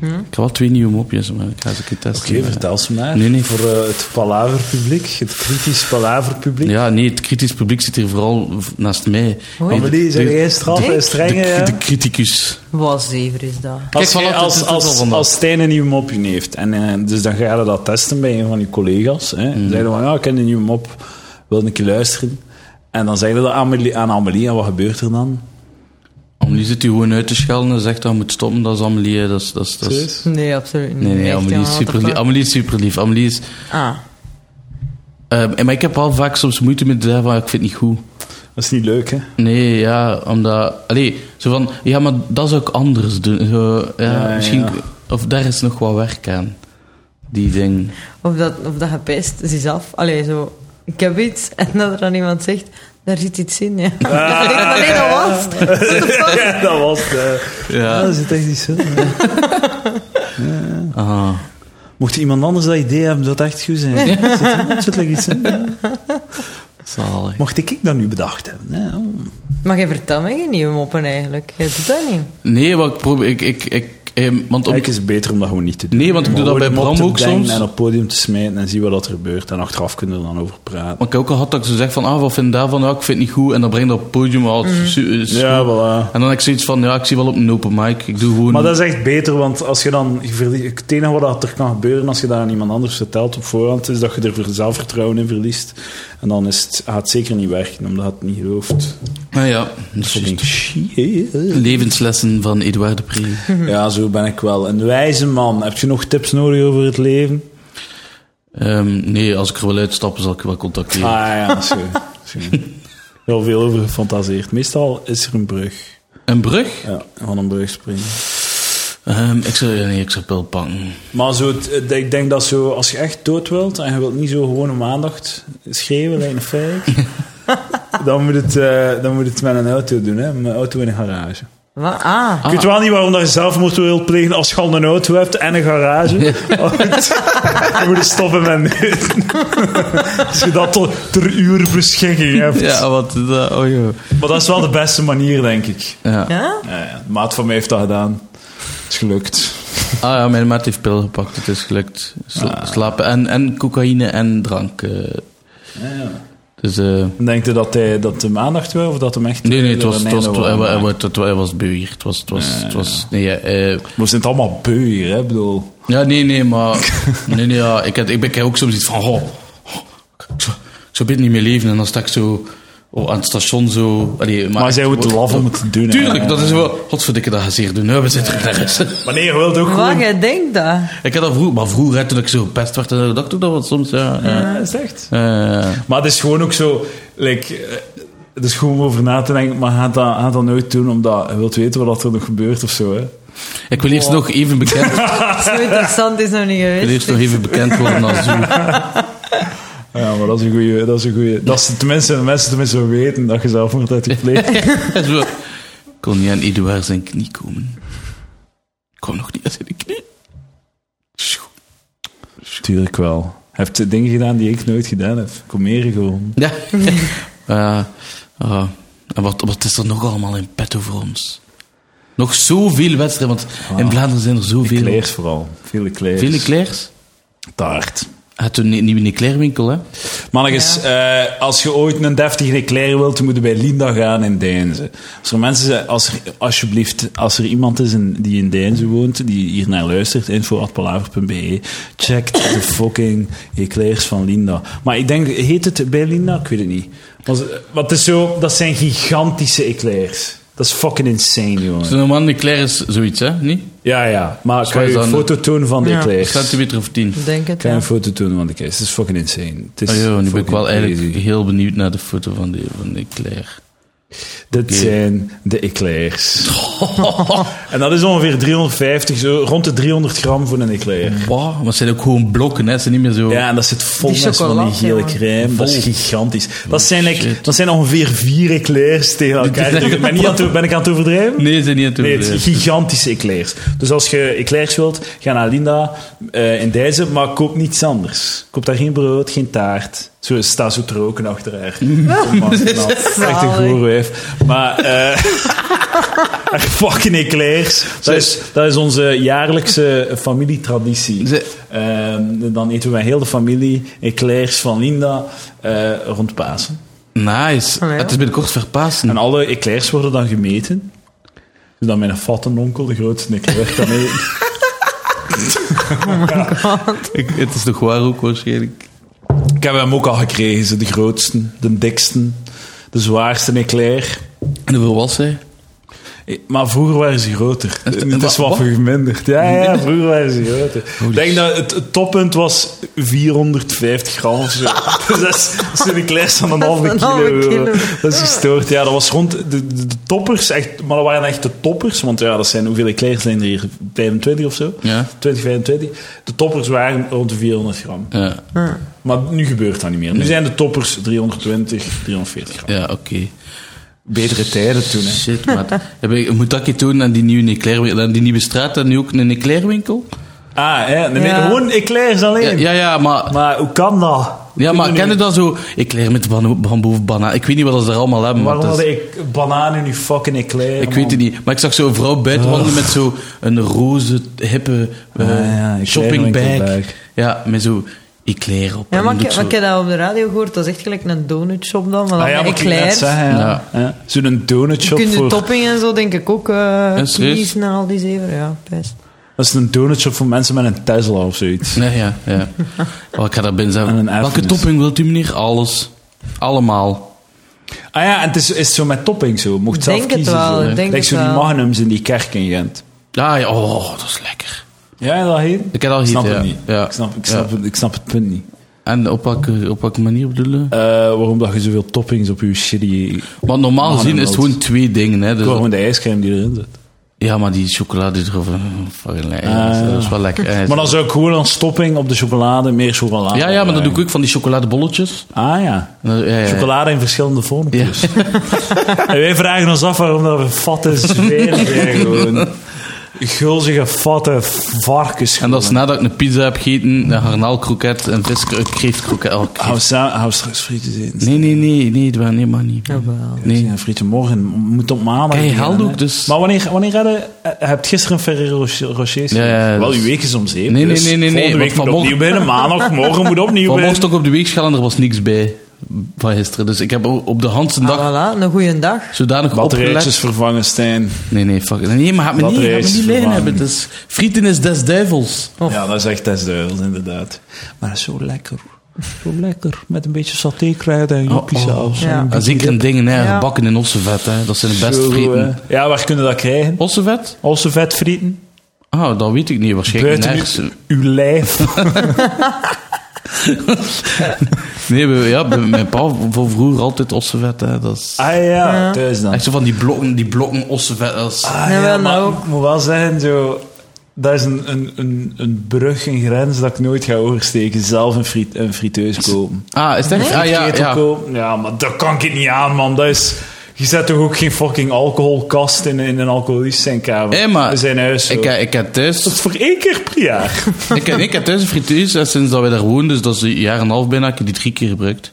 Ik heb wel twee nieuwe mopjes, maar ik ga ze een keer testen. Ja. vertel ze maar. Nee, nee. Voor eh, het palaverpubliek, het kritisch palaverpubliek. Ja, nee, het kritisch publiek zit hier vooral v- naast mij. Hoi. Maar die zijn De- geen de- straf en strenge... de- hè. de criticus. Wat zever is dat? Als, Kijk, jij- voilà, als, het is al als, vandaag. als Stijn een nieuwe mopje heeft, en, eh, dus dan ga je dat testen bij een van je collega's. Hè. Mm. Dan Zeg je van, ja, ik heb een nieuwe mop, wil een keer luisteren. En dan zeg je dat aan Amelie, aan Amelie en wat gebeurt er dan? Amelie zit hier gewoon uit te schelden en zegt dat je moet stoppen. Dat is Amelie, hè. dat is... Dat is, dat is- Serieus? Nee, absoluut niet. Nee, nee, Echt, Amelie is jongen, what the super lief. fuck? Amelie is super lief. Amelie is... Ah, ehm, en maar ik heb wel vaak soms moeite met zeggen van, ik vind het niet goed. Dat is niet leuk, (laughs) hè? Nee, ja, omdat... Allee, zo van, ja, maar dat zou ik anders doen. Zo, ja, Ja, ja, misschien... ja. Of daar is nog wat werk aan. Die ding. of dat, of dat gepest is af. Allee, zo. Ik heb iets (laughs) en dat er dan iemand zegt, daar zit iets in. Ja. (laughs) nee, nee, dat was. het. What the (laughs) fuck? dat was het. Ja. dat zit echt niet zo. Aha. Mocht iemand anders dat idee hebben, dat echt goed zijn. Zit er- Zit er iets in? Zalig. Mocht ik dat nu bedacht hebben? Hè? Oh. Maar jij vertelt me geen nieuwe moppen eigenlijk. Jij doet dat niet. Nee, wat ik probeer... Ik, ik, ik, ehm, want om, Eigenlijk is het beter om dat gewoon niet te doen. Nee, want ik doe Maar dat bij gewoon een mop Bram te ook bedenken soms. En op het podium te smijten en zien wat er gebeurt. En achteraf kunnen we er dan over praten. maar ik heb ook al gehad dat ik zo zeg van, ah, wat vind je daarvan? Ja, ik vind het niet goed. En dan breng ik dat op het podium al. Ja, voilà. En dan heb ik zoiets van, ja, ik zie wel op een open mic. Ik doe gewoon... Maar dat is echt beter, want als je dan, je verlie- het enige wat er kan gebeuren als je dat aan iemand anders vertelt op voorhand, is dat je er voor zelfvertrouwen in verliest. En dan is het, gaat het zeker niet werken, omdat het niet gelooft. Ah ja, dat Dus is je denkt, shit. Levenslessen van Edouard de Pre. (laughs) Ja, zo ben ik wel. Een wijze man. Heb je nog tips nodig over het leven? Ehm, eh, nee, als ik er wel uitstap, zal ik je wel (laughs) contacteren. Ah ja, zo. Zo. heel Ah, veel over gefantaseerd. Meestal is er een brug. Een brug? Ja, van een brug springen. Ehm, ik zou, ja, nee, ik zou pil pakken. Maar zo, het- het- eh, ik denk dat zo, als je echt dood wilt en je wilt niet zo gewoon om aandacht schreeuwen, lijkt een (laughs) fake, dan, moet het, eh, dan moet het met een auto doen, hè? met een auto in een garage. Wat? Ah, Ik weet wel niet waarom dat je zelfmoord wilt plegen als je al een auto hebt en een garage. (laughs) Maar goed, We moeten stoppen met neuten. (laughs) Als je dat tot ter uur beschikking hebt. Ja, wat... dat- oh joh. Maar dat is wel de beste manier, denk ik. Ja. ja? Ja, ja. De maat van mij heeft dat gedaan. Het is gelukt. Ah ja, mijn maat heeft pil gepakt. Het is gelukt. Sla- Slapen en, en cocaïne en drank. eh. Dus... eh, Denkt u dat hij dat hem aandacht wil? Of dat hem echt... Nee, nee, het was, er het een was, het einde was, wil het was, maken? het was, het was bewierd. Het was, het was, het was, nee, Ah, ja, eh, Maar we zijn het allemaal beu hier, hè? Ik bedoel... ja, nee, nee, maar (laughs) nee, nee, ja, ik, heb, ik, ben, ik heb ook soms iets van, oh, ik zou, ik zou beter niet meer leven. En dan sta ik zo oh, aan het station zo... allee, maar Oh, Maar zij wordt laf om het te doen. hè. Ah, Tuurlijk, dat is wel... Godverdikke, dat gezeer doen. hè, We zitten er ergens. Wanneer je wilt ook Wat, gewoon... jij denkt dat? (laughs) Ik had dat vroeger, maar vroeger, hè, toen ik zo gepest werd, dan dacht ik ook dat wat soms, ja. ja. Ja, is het echt. Eh, Maar het is gewoon ook zo... Like, eh, het is gewoon om over na te denken, maar gaat dat, gaat dat nooit doen omdat je wilt weten wat er nog gebeurt of zo. Hè? ik wil eerst nog even bekend, ik Zo interessant is nog niet wil geweest. eerst nog even bekend worden als Zoe. Ja, maar dat is een goeie. Dat is een goeie. Dat ze tenminste, de mensen tenminste weten dat je zelfmoord hebt (laughs) gepleegd. (laughs) Zo. Kon niet aan Eduard zijn knie komen. Ik kwam nog niet aan zijn knie. Tuurlijk wel. Hij heeft dingen gedaan die ik nooit gedaan heb. Kom meer gewoon. (laughs) Ja. Eh, eh, en wat, wat is er nog allemaal in petto voor ons? Nog zoveel wedstrijden, want in Vlaanderen zijn er zoveel. Kleers vooral. Vele kleers. Vele Claire's? Taart. Had toen een nieuwe Leclerc-winkel, hè? Mannetjes, eh, als je ooit een deftige eclair wilt, dan moet je bij Linda gaan in Deinzen. Als er mensen zijn, als er, alsjeblieft, als er iemand is in, die in Deinzen woont, die hier naar luistert, info.palaver.be, check de fucking eclairs van Linda. Maar ik denk, heet het bij Linda? Ik weet het niet. Want, want het is zo, dat zijn gigantische eclairs. Dat is fucking insane, jongen. Zo'n man Leclerc is zoiets, hè? Niet? Ja, ja. Maar kan is je een dan- foto tonen van de Ja. eclairs? Centimeter of tien. Ik denk het, Kan je ja. een foto tonen van de eclairs? Het is fucking insane. Het is Oh, joh, nu ben ik fucking wel eigenlijk crazy. heel benieuwd naar de foto van die, van die Leclerc. Dit zijn de (laughs) eclairs. en dat is ongeveer 350, zo rond de 300 gram voor een eclair. Wow, maar het zijn ook gewoon blokken, hè? Ze zijn niet meer zo... Ja, en dat zit vol Die met van die chocolade, gele ja. crème. Dat is gigantisch. Dat zijn, like, Oh, shit. dat zijn ongeveer vier eclairs tegen elkaar. Ik ben, niet aan het- ben ik aan het overdrijven? Nee, ze zijn niet aan het Nee, het overleven. zijn gigantische eclairs. Dus als je eclairs wilt, ga naar Linda eh, in Dijzen, maar koop niets anders. Koop daar geen brood, geen taart. Zo staat zo te roken achter haar. Kom, man, knap. nou. Echt een Zalig. goer wijf. Maar eh, (laughs) echt fucking eclairs. Dat is, dat is onze jaarlijkse familietraditie. Ze- Ehm, dan eten we met heel de familie eclairs van Linda eh, rond Pasen. Nice. Oh, Allee, ja. Het is binnenkort verpasen. En alle eclairs worden dan gemeten. Dus dan mijn fattenonkel, de grootste eclair, kan eten. (laughs) Ik- het is toch waar ook waarschijnlijk. Ik heb hem ook al gekregen, ze, de grootste, de dikste, de zwaarste eclair. En hoeveel was hij? Eh, Maar vroeger waren ze groter. Echt? Het is wat Wat? verminderd. Ja, ja, Eh, vroeger waren ze groter. Ik denk dat het, het toppunt was 450 gram (laughs) of zo. Dus dat is, dat is een eclair van een halve Dat is een halve kilo. kilo. Dat is gestoord. Ja, dat was rond de, de, de toppers. Echt, maar dat waren echt de toppers. Want ja, dat zijn hoeveel eclairs zijn er hier? 25 of zo? Ja. 20, 25. De toppers waren rond de 400 gram. Ja, Maar nu gebeurt dat niet meer. Nu zijn de toppers 320, 340 gram. ja oké. Betere tijden toen, hè. Shit, maat. (laughs) Heb ik- moet dat je doen aan die nieuwe Eclairwinkel? Aan die nieuwe straat, en nu ook een Eclairwinkel? Ah, ja, nee, nee, Ja. gewoon eclairs Ja, alleen. ja, ja, maar... Maar hoe kan dat? Ja, maar Kunnen ken je nu- dan zo... Eclair met ban- bamboe of banaan. Ik weet niet wat ze er allemaal hebben. maar Waarom dat is- hadden ik bananen nu fucking eclair? dus? ik weet het niet. Maar ik zag zo'n vrouw buiten wandelen met zo'n een roze, hippe eh, Ah, ja, Eclairwinkel shoppingbag. bag. Ja, met zo Eclair op. Ja, En maar dan ik, doet maar ik zo- heb dat op de radio gehoord. Dat is echt gelijk een donutshop dan. Maar dan Ah, ja, met wat ik net eclairs. zeggen, ja. Ja. Zo'n Je donutshop kunt de voor... topping en zo denk ik ook eh serieus? kiezen en al die zeven. Ja, best. Dat is een donutshop voor mensen met een Tesla of zoiets. Nee, ja, ja. (laughs) Oh, ik ga daar binnen En zeggen. een Welke erfenis. topping wilt u, meneer? Alles. Allemaal. Ah ja, en het is, is zo met topping zo. Je Mocht zelf Denk het kiezen. wel, zo. ik denk Like het zo die wel. magnums in die kerk in Gent. Ja, Ah, ja. Oh, dat is lekker. Ja, dat heet. Ik heb al Ik heet, snap ja. het niet. Ja. Ik, snap, ik, snap het, ik snap het punt niet. En op welke, op welke manier bedoelen? Eh, waarom dat je zoveel toppings op je shitty... Want normaal Man, gezien is het Ah, dat- gewoon twee dingen. Hè. Dus Gewoon de ijscrème die erin zit. ja, maar die chocolade erop. eh, Fucking lekker. Ah. dat is wel lekker. Eh, (laughs) Maar dan zou ik gewoon als topping op de chocolade meer chocolade ja, ja, maar dan doe ik brengen. ook van die chocoladebolletjes. Ah ja. En dan- ja, ja, ja. Chocolade in verschillende vormpjes. en wij vragen ons af waarom dat we fatte (laughs) zweren zijn gewoon. Gulzige, fatte varkens. En dat is gewoon. nadat ik een pizza heb gegeten, een garnaalkroket, een viskreeftkroket. Oh, kreeft. Hou, sa- hou straks frieten zitten. Nee, nee, nee, nee, Dwayne, nee, maar niet. Jawel. Nee. Ja, frieten morgen. Moet op maandag. Kijk, beginnen, Heldoek hè. dus. Maar wanneer, wanneer heb je... eh, Heb je gisteren Ferrero Rocher- Rocher Ja, ja, Wel, dat is- uw week is om zeven. Nee, nee, dus nee, nee, nee, Volgende want week moet vanmorgen- opnieuw binnen. Maandag, morgen moet opnieuw (laughs) Vanmorgen binnen. stond ik op de weegschaal en er was niks bij van gisteren. Dus ik heb o- op de handse dag Ah, voilà, een goede dag. zodanig opgelet. Batterijtjes vervangen, Stijn. Nee, nee, fuck. it. Nee, maar gaat me Dat niet, gaat me is niet lijn verwarrend. hebben. Het is, frieten is des duivels. Of- Ja, dat is echt testduivels, inderdaad. Maar dat is zo lekker. Zo lekker. Met een beetje satékruiden Oh, en joepiesaus. Ja. En zeker in dingen, hè, Ja. gebakken in ossenvet. Hè. Dat zijn de beste Zo, frieten. eh, Ja, waar kunnen we dat krijgen? Ossenvet? Onze vetfrieten. Ah, dat weet ik niet. Waarschijnlijk Buiten nergens. uw, uw (laughs) lijf. Nee, we- ja, bij mijn pa voor vroeger altijd ossenvet. Hè. Dat is Ah ja, Ja. thuis dan. echt zo van die blokken, die blokken ossenvet. Dat is- Ah, Ja, ja, wel, maar nou. ik moet wel zeggen, zo, dat is een, een, een, een brug, een grens dat ik nooit ga oversteken. Zelf een, friet, een friteus kopen. Ah, is het echt? Ah, ja, Ketel ja. kopen. Ja, maar dat kan ik niet aan, man. Dat is... Je zet toch ook geen fucking alcoholkast in, in een alcoholist zijn kamer? Hé, maar We zijn huis zo. Ik, heb- ik heb thuis... Dat is voor één keer per jaar. ik, heb, ik heb thuis een frituus en sinds dat wij daar woonden, dus dat is een jaar en een half bijna, heb ik die drie keer gebruikt. (laughs)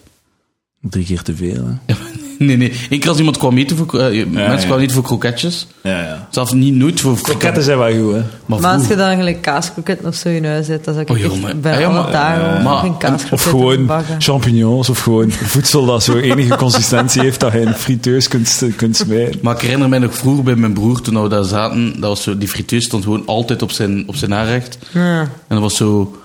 Drie keer te veel, hè? Nee, nee. Eén keer als iemand kwam eten voor... eh, mensen ja. kwamen eten voor kroketjes. Ja, ja. Zelfs niet nooit voor Kroketten zijn wel goed, hè? Maar, Maar als je vroeger- dan gelijk kaaskroketten of zo in huis hebt, dan zou ik Oh, joh, echt maar- bij ah, ja, alle maar- eh, dagen maar- nog een Of kaaskroket gewoon bakken. champignons, of gewoon voedsel dat zo enige consistentie heeft dat je in friteus kunt, kunt smijten. maar ik herinner mij nog vroeger bij mijn broer, toen we daar zaten, dat was zo, die frituur stond gewoon altijd op zijn, op zijn aanrecht. Ja. En dat was zo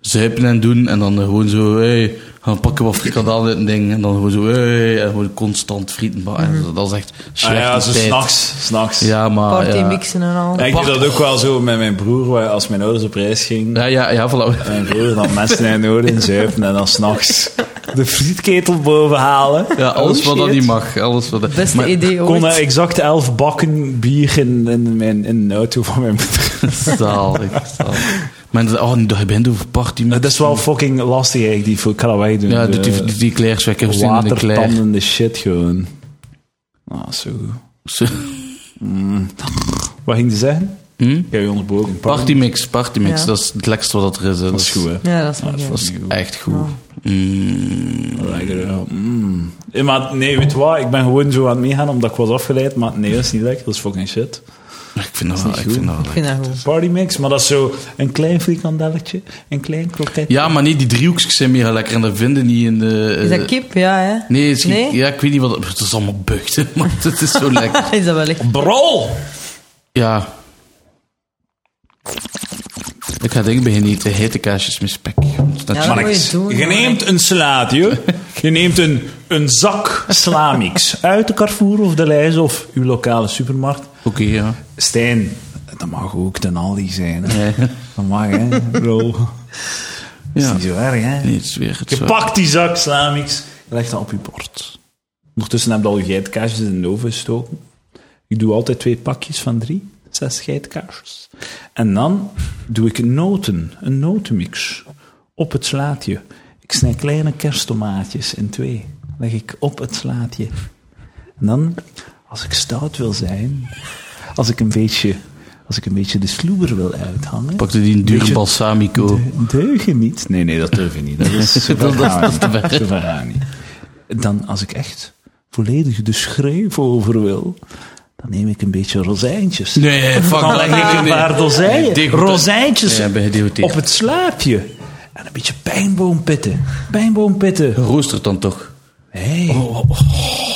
zuipen en doen en dan eh, gewoon zo, hey, gaan pakken wat frikandel uit een ding. En dan gewoon zo, hey, en gewoon constant frieten. ba- en dat- Dat is echt Ah, slechte ja, zo tijd. s'nachts. S'nachts. Ja, maar... Party ja. Eh, mixen en al. Ja, ik deed dat ook wel zo met mijn broer, waar- als mijn ouders op reis gingen. Ja, ja, ja, voilà. Mijn broer dan mensen in noorden (laughs) in zuipen en dan s'nachts de frietketel boven halen. Ja, alles Oh, wat dat shit. niet mag. Alles wat dat... Beste maar, idee Ik ooit. kon eh, exact elf bakken bier in, in, mijn, in de auto van mijn broer. (laughs) Zalig, zalig. Mensen oh, nu dat je bent over party. Dat is wel fucking lastig eigenlijk, die voor- ik ga dat wegdoen. Ja, De doet die, die, die kleerswekker of in de kleer. watertandende shit gewoon. Ah, zo goed. Wat ging je zeggen? Hm? Ik heb je onderbroken. Partymix, partymix. Ja. Dat is het lekkerste wat dat er is. hè. Dat is goed, hè? Ja, dat is nog dat niet. Ah, Dat is echt goed. Mm. Lekker, ja. Mm. Eh, Maar nee, weet je wat? Ik ben gewoon zo aan het meegaan omdat ik was afgeleid. Maar nee, dat is niet lekker. Dat is fucking shit. Ik vind dat, niet wel- ik goed. vind dat wel Ik lekker. vind dat goed. Party mix, maar dat is zo een klein frikandelletje, een klein kroketje. Ja, maar nee, die driehoekjes zijn mega lekker. En dat vinden die in de... eh, Is dat kip? Ja, hè? Nee, het is geen- Nee? Ja, ik weet niet wat... dat- Het is allemaal buchten, (laughs) maar het is zo lekker. (laughs) Is dat wel echt? Brol! Ja. Ik ga dingen beginnen eten. Hete kaasjes met spek. Dat Ja, is- dat moet Mannetjes, je doen. je neemt een slaat, joh. Je neemt een, een zak slamix uit de Carrefour of de Leijs of uw lokale supermarkt. Oké, ja. Stijn, dat mag ook ten Aldi zijn. Hè. Ja. Dat mag, hè, bro. Dat is Ja. niet zo erg, hè. Nee, het is weer het Je zo. pakt die zak slamix, je legt dat op je bord. Ondertussen heb je al je geitkaasjes in de oven gestoken. Ik doe altijd twee pakjes van drie, zes geitkaasjes. En dan doe ik noten, een notenmix, op het slaatje. Ik snij kleine kersttomaatjes in twee, leg ik op het slaatje. En dan, als ik stout wil zijn, als ik een beetje, als ik een beetje de sloeber wil uithangen... Pakte die een dure Beetje- balsamico. De- Deugen niet? Nee, nee, dat durf ik niet. Dat is (laughs) zover gaan we niet. Zover gaan we niet. Dan, als ik echt volledig de schreef over wil, dan neem ik een beetje rozijntjes. Nee, fuck Dan leg dat. ik een paar Nee, rozijnen, degoute- rozijntjes Ja, ben gedegoteerd. op het slaapje. En een beetje pijnboompitten. Pijnboompitten. Roostert dan toch? Nee.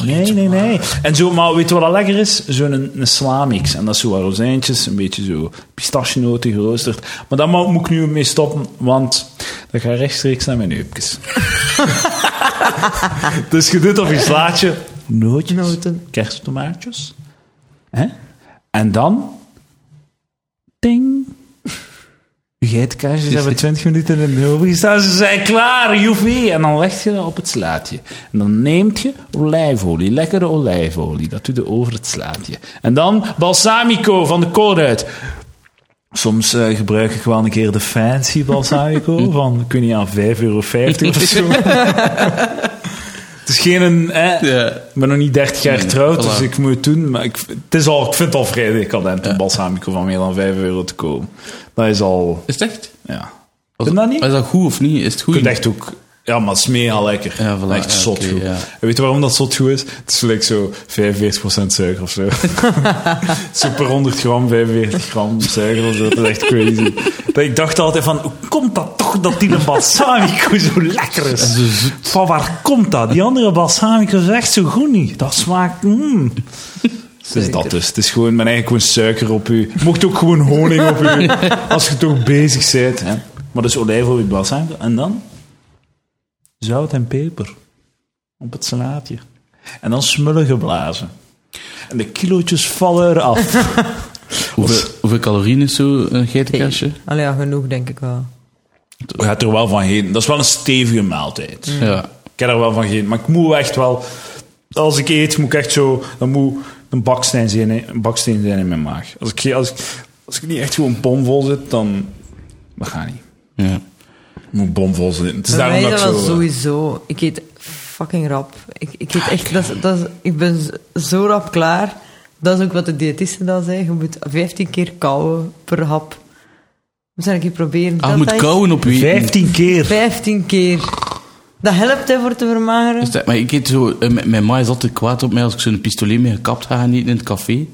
nee, nee, nee. En zo, maar weet je wat dat lekker is? Zo'n een, een slamix. En dat is zo wat rozijntjes, een beetje zo pistachenoten geroosterd. Maar daar mo- moet ik nu mee stoppen, want dat gaat rechtstreeks naar mijn heupjes. (laughs) dus je doet op je slaatje nootjes, Noten. kersttomaatjes. Hè? En dan... Ting. uw geitenkaasjes hebben 20 minuten in de oven gestaan. Ze zijn klaar, joefie. En dan leg je dat op het slaatje. En dan neemt je olijfolie, lekkere olijfolie. Dat doe je over het slaatje. En dan balsamico van de koolruit. Soms eh, gebruik ik wel een keer de fancy (laughs) balsamico van, ik weet niet, aan 5,50 euro of (laughs) zo. het is geen... Eh, Ja. ik ben nog niet 30 jaar Nee, getrouwd, voilà. dus ik moet het doen. Maar ik, het is al, ik vind het al vrij decadent een balsamico van meer dan 5 euro te kopen. Dat is al... Is het echt? Ja. Was- Vind dat niet? Is dat goed of niet? Is het goed? Je kunt echt ook... Ja, maar het is mega lekker. Ja, voilà, echt ja, zot oké, goed. ja. En weet je waarom dat zot goed is? Het is gelijk zo 45% suiker (laughs) of zo. zo per 100 gram, 45 gram suiker of zo. Dat is echt crazy. Dat ik dacht altijd van, hoe komt dat toch dat die een balsamico zo lekker is? Van waar komt dat? Die andere balsamico is echt zo goed niet. Dat smaakt... (laughs) mm. Het is dat dus. Het is gewoon, mijn eigen gewoon suiker op u. Mocht ook gewoon honing op u. (laughs) Als je toch bezig bent. Hè? Maar dus olijfolie, balsamico. En dan? Zout en peper. Op het salaatje. En dan smullen geblazen. En de kilootjes vallen eraf. Hoeveel, hoeveel calorieën is eh, zo'n geitenkaasje? Allee, ja, genoeg denk ik wel. Je gaat er wel van heen. Dat is wel een stevige maaltijd. Ja. Ik ken er wel van geen. Maar ik moet echt wel... Als ik eet, moet ik echt zo... Dan moet een baksteen zijn, in- een baksteen zijn in mijn maag. Als ik, ge- als, ik, als ik niet echt gewoon bomvol zit, dan... Dat gaat niet. ja. Ah, Ik moet bomvol zitten. Het is Bij daarom mij dat is ik dat eh, wel zo... eh, sowieso. Ik eet fucking rap. Ik, ik eet echt... Dat, is- dat, is- ik ben z- zo rap klaar. Dat is ook wat de diëtisten dan zei. Je moet 15 keer kauwen per hap. Moet ik een keer Ah, proberen. Dat je moet dat is kauwen op je... 15 keer. 15 keer. Dat helpt hè, voor te vermageren. Is dat- maar ik eet zo... eh, Mijn, mijn ma is altijd kwaad op mij als ik zo'n pistolet mee gekapt ga gaan eten in het café.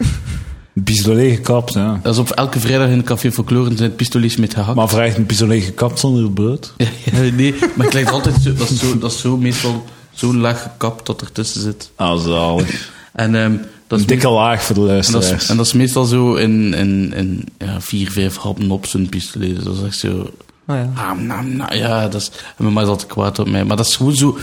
Pistolet gekapt, ja. Dat is op elke vrijdag in het café folklore zijn het pistolets met gehakt. Maar vraagt een pistolet gekapt zonder het brood? (laughs) Ja, ja, nee, maar het lijkt altijd zo... Dat is zo, dat is zo meestal zo'n laag gekapt dat ertussen zit. Ah, zalig. En ehm, dat is... Een dikke laag voor de En dat, is, luisteraars. en dat is meestal zo in, in, in ja, vier, vijf happen op zo'n pistolet. Dus dat is echt zo... Oh ja. Ah, nou, nou, ja, dat is... En mijn ma is altijd kwaad op mij. Maar dat is gewoon zo...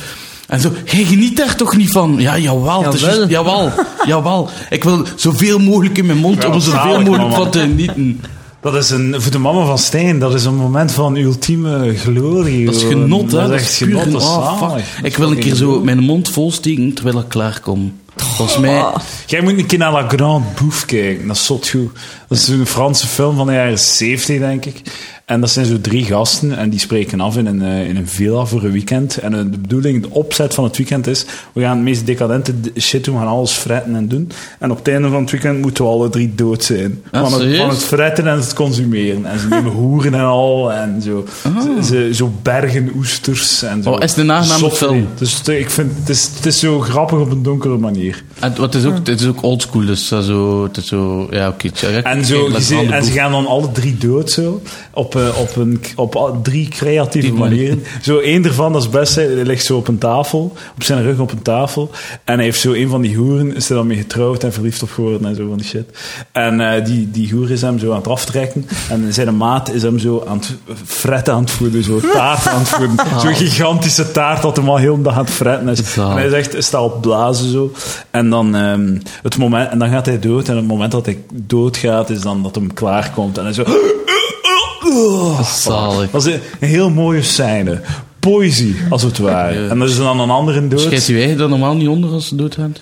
En zo, hey, geniet daar toch niet van? Ja, jawel. het is Jawel. juist- jawel, jawel. Ik wil zoveel mogelijk in mijn mond Ja, om er zoveel zalig, mogelijk mama. van te genieten. Dat is een, voor de mama van Stijn, dat is een moment van ultieme glorie. Dat is gewoon. genot, hè. Dat is echt puur genot, dat is oh, fuck. zalig. Dat is Ik wil een keer fucking zo goed. mijn mond vol steken terwijl ik klaar kom. Volgens mij... Ah. Jij moet een keer naar La Grande Bouffe kijken, dat is zot goed. Dat is een Franse film van de jaren 70, denk ik. En dat zijn zo drie gasten en die spreken af in een, eh, in een villa voor een weekend. En eh, de bedoeling, de opzet van het weekend is, we gaan het meest decadente d- shit doen, we gaan alles fretten en doen. En op het einde van het weekend moeten we alle drie dood zijn. Ah, van, het, serieus? Ah. van het fretten en het consumeren. En ze nemen hoeren en al, en zo, Ze- ze, zo bergen oesters en zo. Oh, is het een aangename Zot film? goed. Dus eh, ik vind, het is, het is zo grappig op een donkere manier. En wat is ook, het is ook oldschool, dus dat zo, het is zo, ja, oké. tja, (laughs) ja, En, kijk, zo, die laat zijn- aan de en ze boeg. gaan dan alle drie dood zo. Op, eh, op, een, op al- drie creatieve Die manier. manieren. Zo één ervan, dat is best. Hij ligt zo op een tafel. Op zijn rug op een tafel. En hij heeft zo een van die hoeren. Is er dan mee getrouwd en verliefd op geworden en zo van die shit. En eh, die, die hoer is hem zo aan het aftrekken. En zijn maat is hem zo aan het fretten aan het voeden. Zo taart aan het voeden. Zo'n gigantische taart dat hem al heel de dag aan het fretten is. Zalig. En hij zegt, sta op blazen zo. En dan, ehm, het moment, en dan gaat hij dood. En het moment dat hij doodgaat, is dan dat hem klaarkomt. En hij zo... (gasps) oh, Zalig. Dat is een, een heel mooie scène. Poëzie, als het ware. En er is dan een andere Schijt dood. je eigen dan normaal niet onder als ze doodgaat?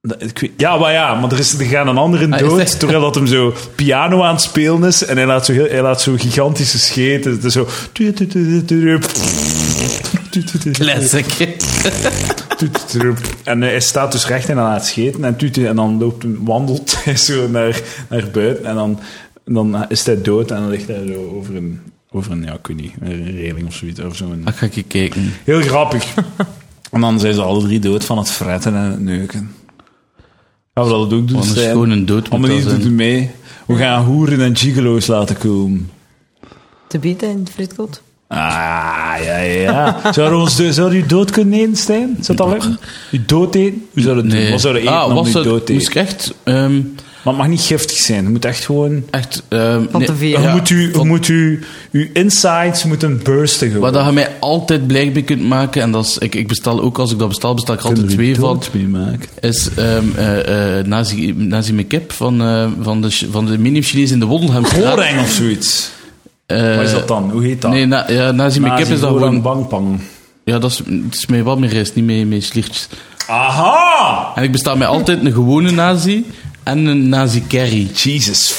Dat- ik weet- Ja, maar ja, maar er, is, er gaat een andere Ah, is dood. dat- Terwijl dat hem zo piano aan het spelen is. En hij laat zo, heel, hij laat zo gigantische scheten. Het is zo... Classic. Toet, troep. En eh, hij staat dus recht en hij laat scheten en toet, en dan loopt, hij- wandelt (laughs) hij zo naar, naar buiten en dan, dan is hij dood en dan ligt hij zo over een, over een ja, ik weet niet, een reling of zoiets. Of zo Dan ga ik je kijken. Heel grappig. (laughs) en dan zijn ze alle drie dood van het fretten en het neuken. Gaan we dat ook doen, Wat een Stijn? schone dood Om moet dat niet doet zijn. u mee. We gaan hoeren en gigolo's laten komen. Te bieden in het fritkot. Ah, ja, ja, ja. (laughs) Zou je, ons, zou je dood kunnen eten, Stijn? Zou dat lukken? Je dood eten? Hoe zou dat doen? Wat zou je eten ah, om was je dat, dood te moest eten? ik echt, ehm Maar het mag niet giftig zijn. Het moet echt gewoon... echt, ehm Van te veel. Je Ja, moet, u, je van- moet u, uw insides moeten bursten gewoon. Wat dat je mij altijd blij mee kunt maken, en dat is, ik, ik bestel ook, als ik dat bestel, bestel ik er altijd twee van, mee maken. is ehm eh eh nazi, nazi met kip van, eh, van de, Ch- van de medium Chinees in de Wodelhemstraat. Goreng of zoiets. Eh, Wat is dat dan? Hoe heet dat? Nee, na, ja, nazi met kip is dat Golang gewoon... bangpang. Ja, dat is, het is met wat meer rijst, niet met, met sliertjes. Aha! En ik besta mij altijd een gewone nazi en een nazi curry. Jesus.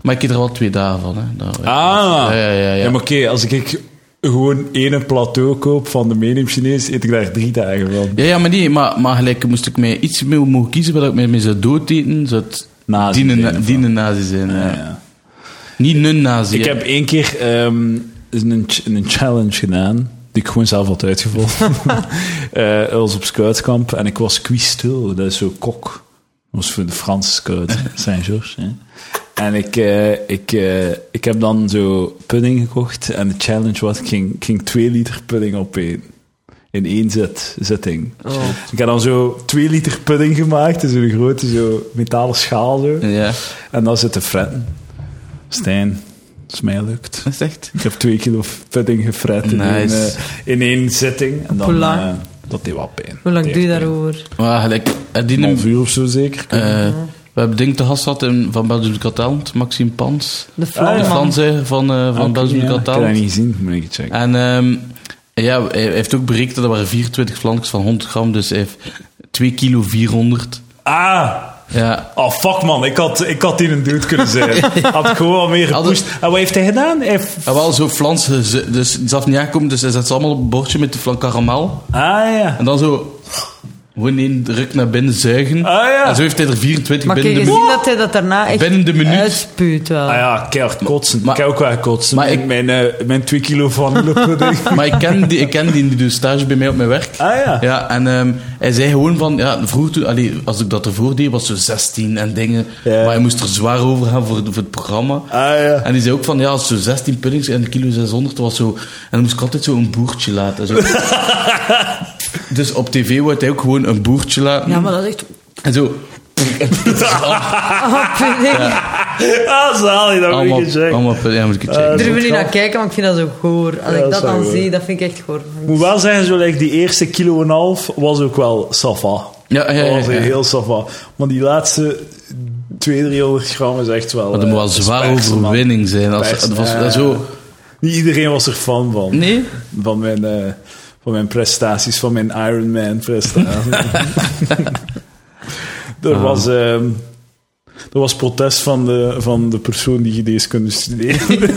Maar ik eet er wel twee dagen van. Hè. Dat- Ah! Ja, ja, ja. ja. maar oké, als ik gewoon één plateau koop van de medium Chinees, eet ik daar drie dagen van. Ja, ja, maar nee, maar, maar gelijk moest ik mij iets meer mogen kiezen waar ik mij mee zou doodeten, zou het Nazi die zijn, een of die wat? een nazi zijn. ja. Ja, ja. Niet een nazi. Ik hè. heb één keer ehm, een, ch- een challenge gedaan, die ik gewoon zelf had uitgevonden. Eh, dat was op scoutkamp en ik was cuistot, dat is zo kok. Dat was voor de Franse scout, Saint-Georges. hè. En ik, eh, ik, eh, ik heb dan zo pudding gekocht en de challenge was, ik ging, ik ging twee liter pudding opeten. In één zet, zitting. Oh. Ik heb dan zo twee liter pudding gemaakt, in zo'n grote zo metalen schaal. Zo. Ja, En dan zitten fretten. Stijn, dat is mij lukt. dat is echt. Ik heb twee kilo pudding gefret in, Nice. één, eh, in één zitting. En dan, Hoe lang? eh, dat deed wel pijn. Hoe lang Dat doe je deed daarover? Maar gelijk, eh, die pijn. Een half een- uur of zo zeker. eh, we hebben Ding te gast gehad in, van Belgium Got Talent, Maxime Pans. De Ah, De ja. Vlamman. Franse van, eh van Ah, Belgium ja, Got Ik heb dat Talent. niet gezien, moet ik het checken. En ehm, ja, hij heeft ook berekend dat er waren 24 flankjes van 100 gram, dus hij heeft 2 kilo 400. Ah! Ja. Oh fuck man, ik had, ik had hier een dude kunnen zijn. (laughs) Had ik gewoon al meer Hadden- gepusht. En wat heeft hij gedaan? Hij heeft- En wel zo flansen, ze- dus het zat niet aankomen, dus hij zet ze allemaal op een bordje met de flank karamel. Ah ja. En dan zo, gewoon één druk naar binnen zuigen. Ah, ja. En zo heeft hij er 24 Maar binnen kijk, de je minuut. ziet dat hij dat daarna echt Binnen de minuut. uitspuwt wel. Ah ja, keihard kotsen. Maar- ik heb ook wel kotsen. maar mijn, ik- mijn, eh, mijn twee kilo (laughs) vanillepudding. Maar ik ken die, ik ken die, die doet stage bij mij op mijn werk. Ah, ja. Ja, en ehm, hij zei gewoon van, ja, vroeger toen, allee, als ik dat ervoor deed, was zo 16 en dingen. Ja. Maar je moest er zwaar over gaan voor, voor het programma. ah ja. En die zei ook van, ja, als zo 16 puddings en een kilo 600 was zo... En dan moest ik altijd zo een boertje (laughs) laten. Zo. dus op tv wordt hij ook gewoon een boertje laten. Ja, maar dat is echt... En zo... Ah, pudding. Ah, zalig, dat moet allemaal, ik je zeggen. Ah, allemaal pudding. Ja, moet ik het Ik checken. durf er niet Ja. naar kijken, maar ik vind dat zo goor. Als Ja, ik dat dat zou dan wel. zie, dat vind ik echt goor. Ik moet wel zeggen, zo, like, die eerste kilo en een half was ook wel safa. Ja, ja, ja, Dat was ja. heel safa. Maar die laatste 200-300 gram is echt wel... eh, Maar dat moet wel zwaar overwinning zijn. Als, Pers, het was, ja. zo, Niet iedereen was er fan van. nee? Van mijn... eh, van mijn prestaties, van mijn Ironman prestaties. (laughs) er, was, ehm, er was protest van de, van de persoon die geneeskunde studeerde.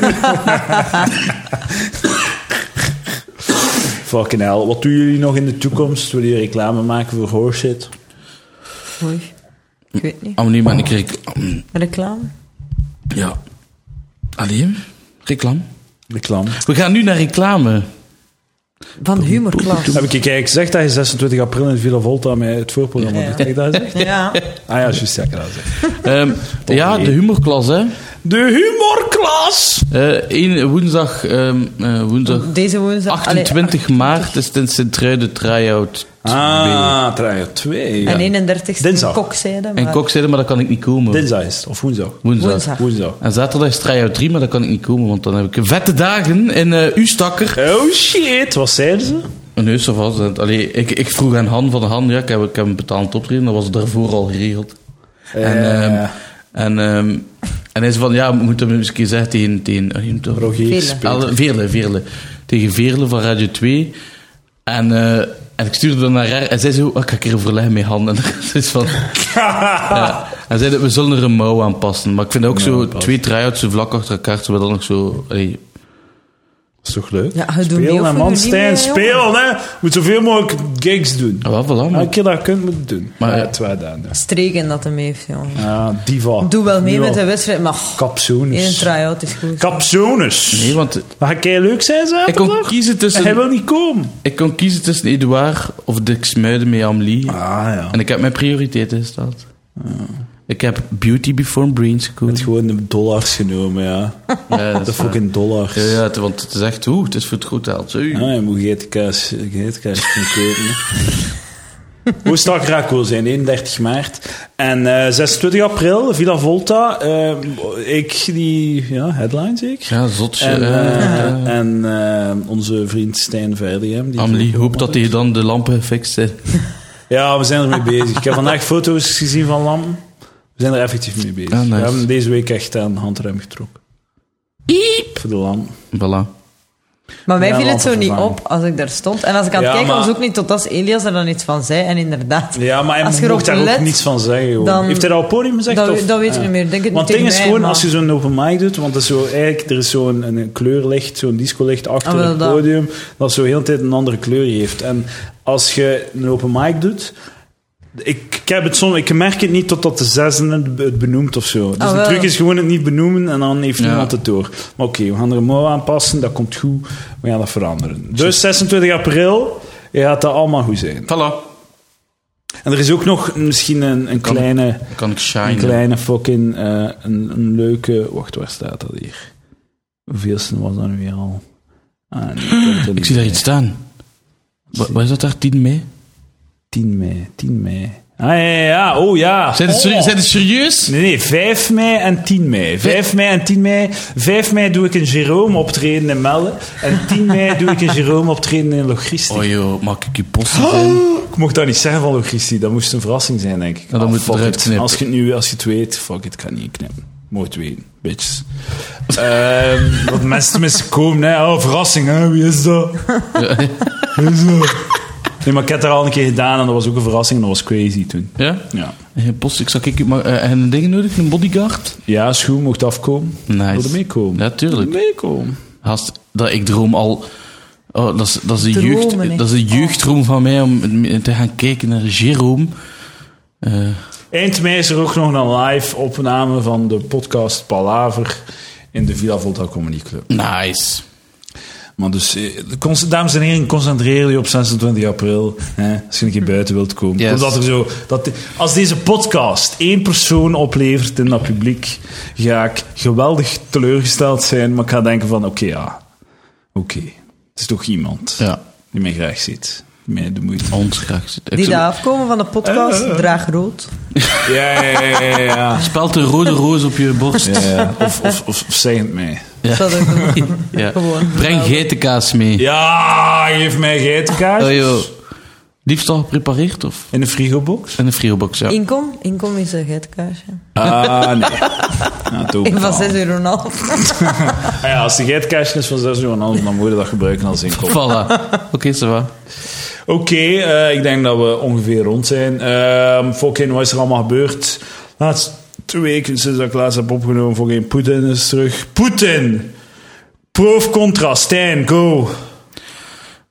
(laughs) Fucking hell. Wat doen jullie nog in de toekomst? Willen jullie reclame maken voor horseshit? Mooi. Ik weet niet. Oh nee, maar ik kreeg... Reclame? Ja. Allee, reclame. Reclame. We gaan nu naar reclame. Van Heb humorklas. ik je eigenlijk gezegd dat je 26 april in Villa Volta met het voorprogramma Ja. doet? Heb ik dat gezegd? Ja. Ah ja, juist. Ja, ik heb dat gezegd. Ehm, ja, de humorklas, hè. De humorklas! Eh, één woensdag, ehm, eh, woensdag Deze woensdag. allee, 28 maart is het in Sint-Truiden try-out. Ah, try 2. En 31 ste Dinsdag. kokzijde. En Maar... kok zeiden, maar dat kan ik niet komen. Dinsdag is het, of woensdag. Woensdag. Woensdag. Woensdag. En zaterdag is try-out 3, maar dat kan ik niet komen, want dan heb ik vette dagen in eh Ustakker. Oh shit, wat zeiden ze? Een neus of wat. Allee, ik, ik vroeg aan Han van Han, ja, ik heb, ik heb een betaald optreden, dat was daarvoor al geregeld. En, Ja. ehm, en, ehm, en hij zei van, ja, we moeten hem eens een keer zeggen tegen... tegen eh, je moet toch- Rogier (laughs) Vele. speelt. Alle- Veerle, Veerle. Tegen Veerle van Radio 2. En, eh, en ik stuurde dan naar haar en zij zei zo, oh, ik ga een keer overleggen met Han. (laughs) En ze is Ah. van... ja. En zei, dat we zullen er een mouw aan passen. Maar ik vind ook zo twee try-outs zo vlak achter elkaar, terwijl dan nog zo... allee, Dat is toch leuk? Ja, je doet niet Speel of hè, je man, doet niet Stijn, mee, speel hè. Moet zoveel mogelijk gigs doen. ah, wel, voilà, maar- Elke keer dat je kunt, moet je doen. Maar Maar ja. ja, twee dagen. Streken dat hem heeft, jongen. Ja, diva. Doe wel mee Diva. met de wedstrijd, maar goh, in een Capsones. try-out is goed. Capsones. Nee, want Maar ga jij leuk zijn ik kon zaterdag? kiezen En Hij tussen, wil niet komen. ik kon kiezen tussen Edouard of Dick Smuiden met Amelie. Ah, ja. En ik heb mijn prioriteiten gesteld. Ik heb Beauty Before Brains Ah. Het gekozen. gewoon de dollars genomen, ja. Ja, dat De is waar. fucking dollars. Ja, ja, het- want het is echt, oeh, het is voor het goed geld. Zo, oeh. Ah, je moet geitenkaas kunnen kopen. hè. Woensdag Raco zijn, 31 maart. En eh, 26 april, Villa Volta. eh, ik die ja, headline zeker. Ja, zotje. En, eh, eh, eh. en eh, onze vriend Stijn Verdiem. die- Amelie hoopt dat hij dan de lampen fixt zijn. Ja, we zijn ermee bezig. Ik heb vandaag foto's gezien van lampen. We zijn er effectief mee bezig. Ah, nice. We hebben deze week echt aan de handrem getrokken. Iep. Voor de lamp. Voilà. Maar mij Ja, viel het zo niet lampen op als ik daar stond. En als ik aan het Ja, kijken was, maar- ook niet totdat Elias er dan iets van zei. En inderdaad, Ja, maar hij Als je mocht erop daar ook let, niets van zeggen. gewoon. dan- Heeft hij dat op het podium gezegd? dat, of? dat weet ik Ja. niet meer. Denk het Want niet het ding is tegen gewoon, mij, als je maar- zo'n open mic doet, want dat is zo, eigenlijk, er is zo'n een, een kleurlicht, zo'n discolicht achter Ah, wel het dat. podium, dat zo heel de tijd een andere kleur heeft. En als je een open mic doet, ik, ik, heb het soms, ik merk het niet totdat de zesde het, be- het benoemt of zo. Dus Ah, de wel. truc is gewoon het niet benoemen en dan heeft Ja. niemand het door. Maar oké, we gaan er een mouw aanpassen, dat komt goed, we gaan dat veranderen. Dus 26 april gaat dat allemaal goed zijn. Voilà. En er is ook nog misschien een, een Kan- kleine... Dan kan ik Een shine. kleine fucking, eh, een, een leuke... Wacht, waar staat dat hier? Hoeveelste was dat nu weer al? Ah, nee, komt er Ik niet zie daar bij. iets staan. Wa- Wat is dat daar? 10 mei? 10 mei, 10 mei. Ah, ja, ja, ja, oh ja. Zijn het, Oh. serie- zijn het serieus? Nee, nee, 5 mei en 10 mei. 5 mei en 10 mei. 5 mei doe ik een Jerome optreden in Melle. En 10 mei doe ik een Jerome optreden in Logistiek. Oh joh, maak ik je post niet in? Oh, ik mocht dat niet zeggen van Logistiek. Dat moest een verrassing zijn, denk ik. Ja, dan Ah, moet je fuck eruit it. knippen. Als je het nu als je het weet, fuck it, ik kan niet knippen. Mooi het weten, (laughs) bitches. Ehm, dat mensen tenminste komen, hè. Oh, verrassing, hè. Wie is dat? Wie is dat? Nee, maar ik heb dat al een keer gedaan en dat was ook een verrassing en dat was crazy toen. Ja? Ja, En je post, ik zag ik, maar, eh, en een ding nodig, een bodyguard? ja schoen mocht afkomen. Nice. Wilde meekomen. Ja, tuurlijk. Wilde meekomen. Haast, dat, ik droom al... Oh, dat, is, dat, is de Dromen, jeugd, hè. Oh. dat is de jeugdroom van mij om te gaan kijken naar Jerome. Eh, Eind mei is er ook nog een live opname van de podcast Palaver in de Villa Volta Comedy Club. nice. Maar dus, eh, cons- dames en heren, concentreer je op 26 april. Hè, als je een keer buiten wilt komen. Yes. Omdat er zo, dat, als deze podcast één persoon oplevert in dat publiek, ga ik geweldig teleurgesteld zijn. Maar ik ga denken van, oké, ja. Oké. Het is toch iemand Ja, die mij graag ziet. Die mij de moeite... ons graag zitten. die daar afkomen van de podcast, Eh, eh, eh. draag rood. Ja, ja, ja, ja. ja. Spelt een rode roos op je borst. Ja, ja. Of, of, of, of zeg het mij. Ja. Dat (laughs) is ook een- Ja. (laughs) Gewoon. Breng geitenkaas mee. Ja, geef mij geitenkaartjes. Oh, joh. Liefst al geprepareerd of In de frigobox? in de frigobox? Ja. Inkom? Inkom is een geitkaasje. Ah, nee. Ja, het Ik van Oh. overal. 6 euro en een half. Ah (laughs) ja, als de geitkaasje is van 6 euro, dan dan moet je dat gebruiken als inkomen. (laughs) Voilà. Oké, ça va. Oké, eh, ik denk dat we ongeveer rond zijn. Ehm fucking, wat is er allemaal gebeurd? Laatst twee weken sinds dat ik laatst heb opgenomen, fucking Poetin is terug. Poetin! Proof contra, Stijn, go!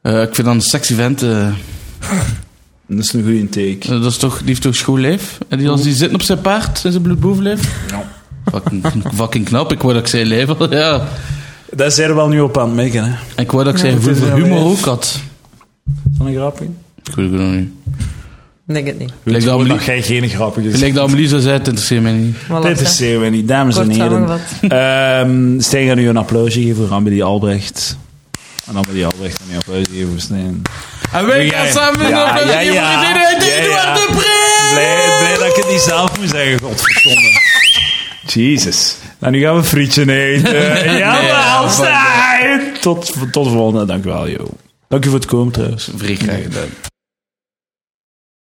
Eh, ik vind dat een sexy vent. eh. Dat is een goede take. dat is toch, die heeft toch schoon lijf? En die, als die zitten op zijn paard, in zijn bloedbovenlijf. Ja. Fucking, fucking knap, ik wou dat ik zijn lijf had. Ja. Daar zijn we wel nu op aan het mekken, hè? En ik wou dat ik zijn Ja, gevoel het is voor wel humor lijf. ook had. Van een grapje? Ik weet het nog niet. Ik Denk het niet. Lijkt dat Gewoon Amelie- dat jij geen grapje gezegd Gelijk dat Amelie zo zei, het interesseert mij niet. Maar Dit is zeer niet, dames Kort en heren. samengevat. Ehm Stijn gaat nu een applausje geven voor Amelie Albrecht. En Amelie Albrecht gaat nu een applausje geven voor Stijn. En wij Ja, gaan samen in de ja, ja, aflevering ja. van Gezin uit de Ja, ja. Eduard de Pre! Blij, blij dat ik het niet zelf moet zeggen, godverdomme. Jezus. Nou, nu gaan we frietje (laughs) eten. Jawel, Stijn! Tot, tot de volgende, dank u wel, joh. Dank u voor het komen trouwens. Vrij graag gedaan.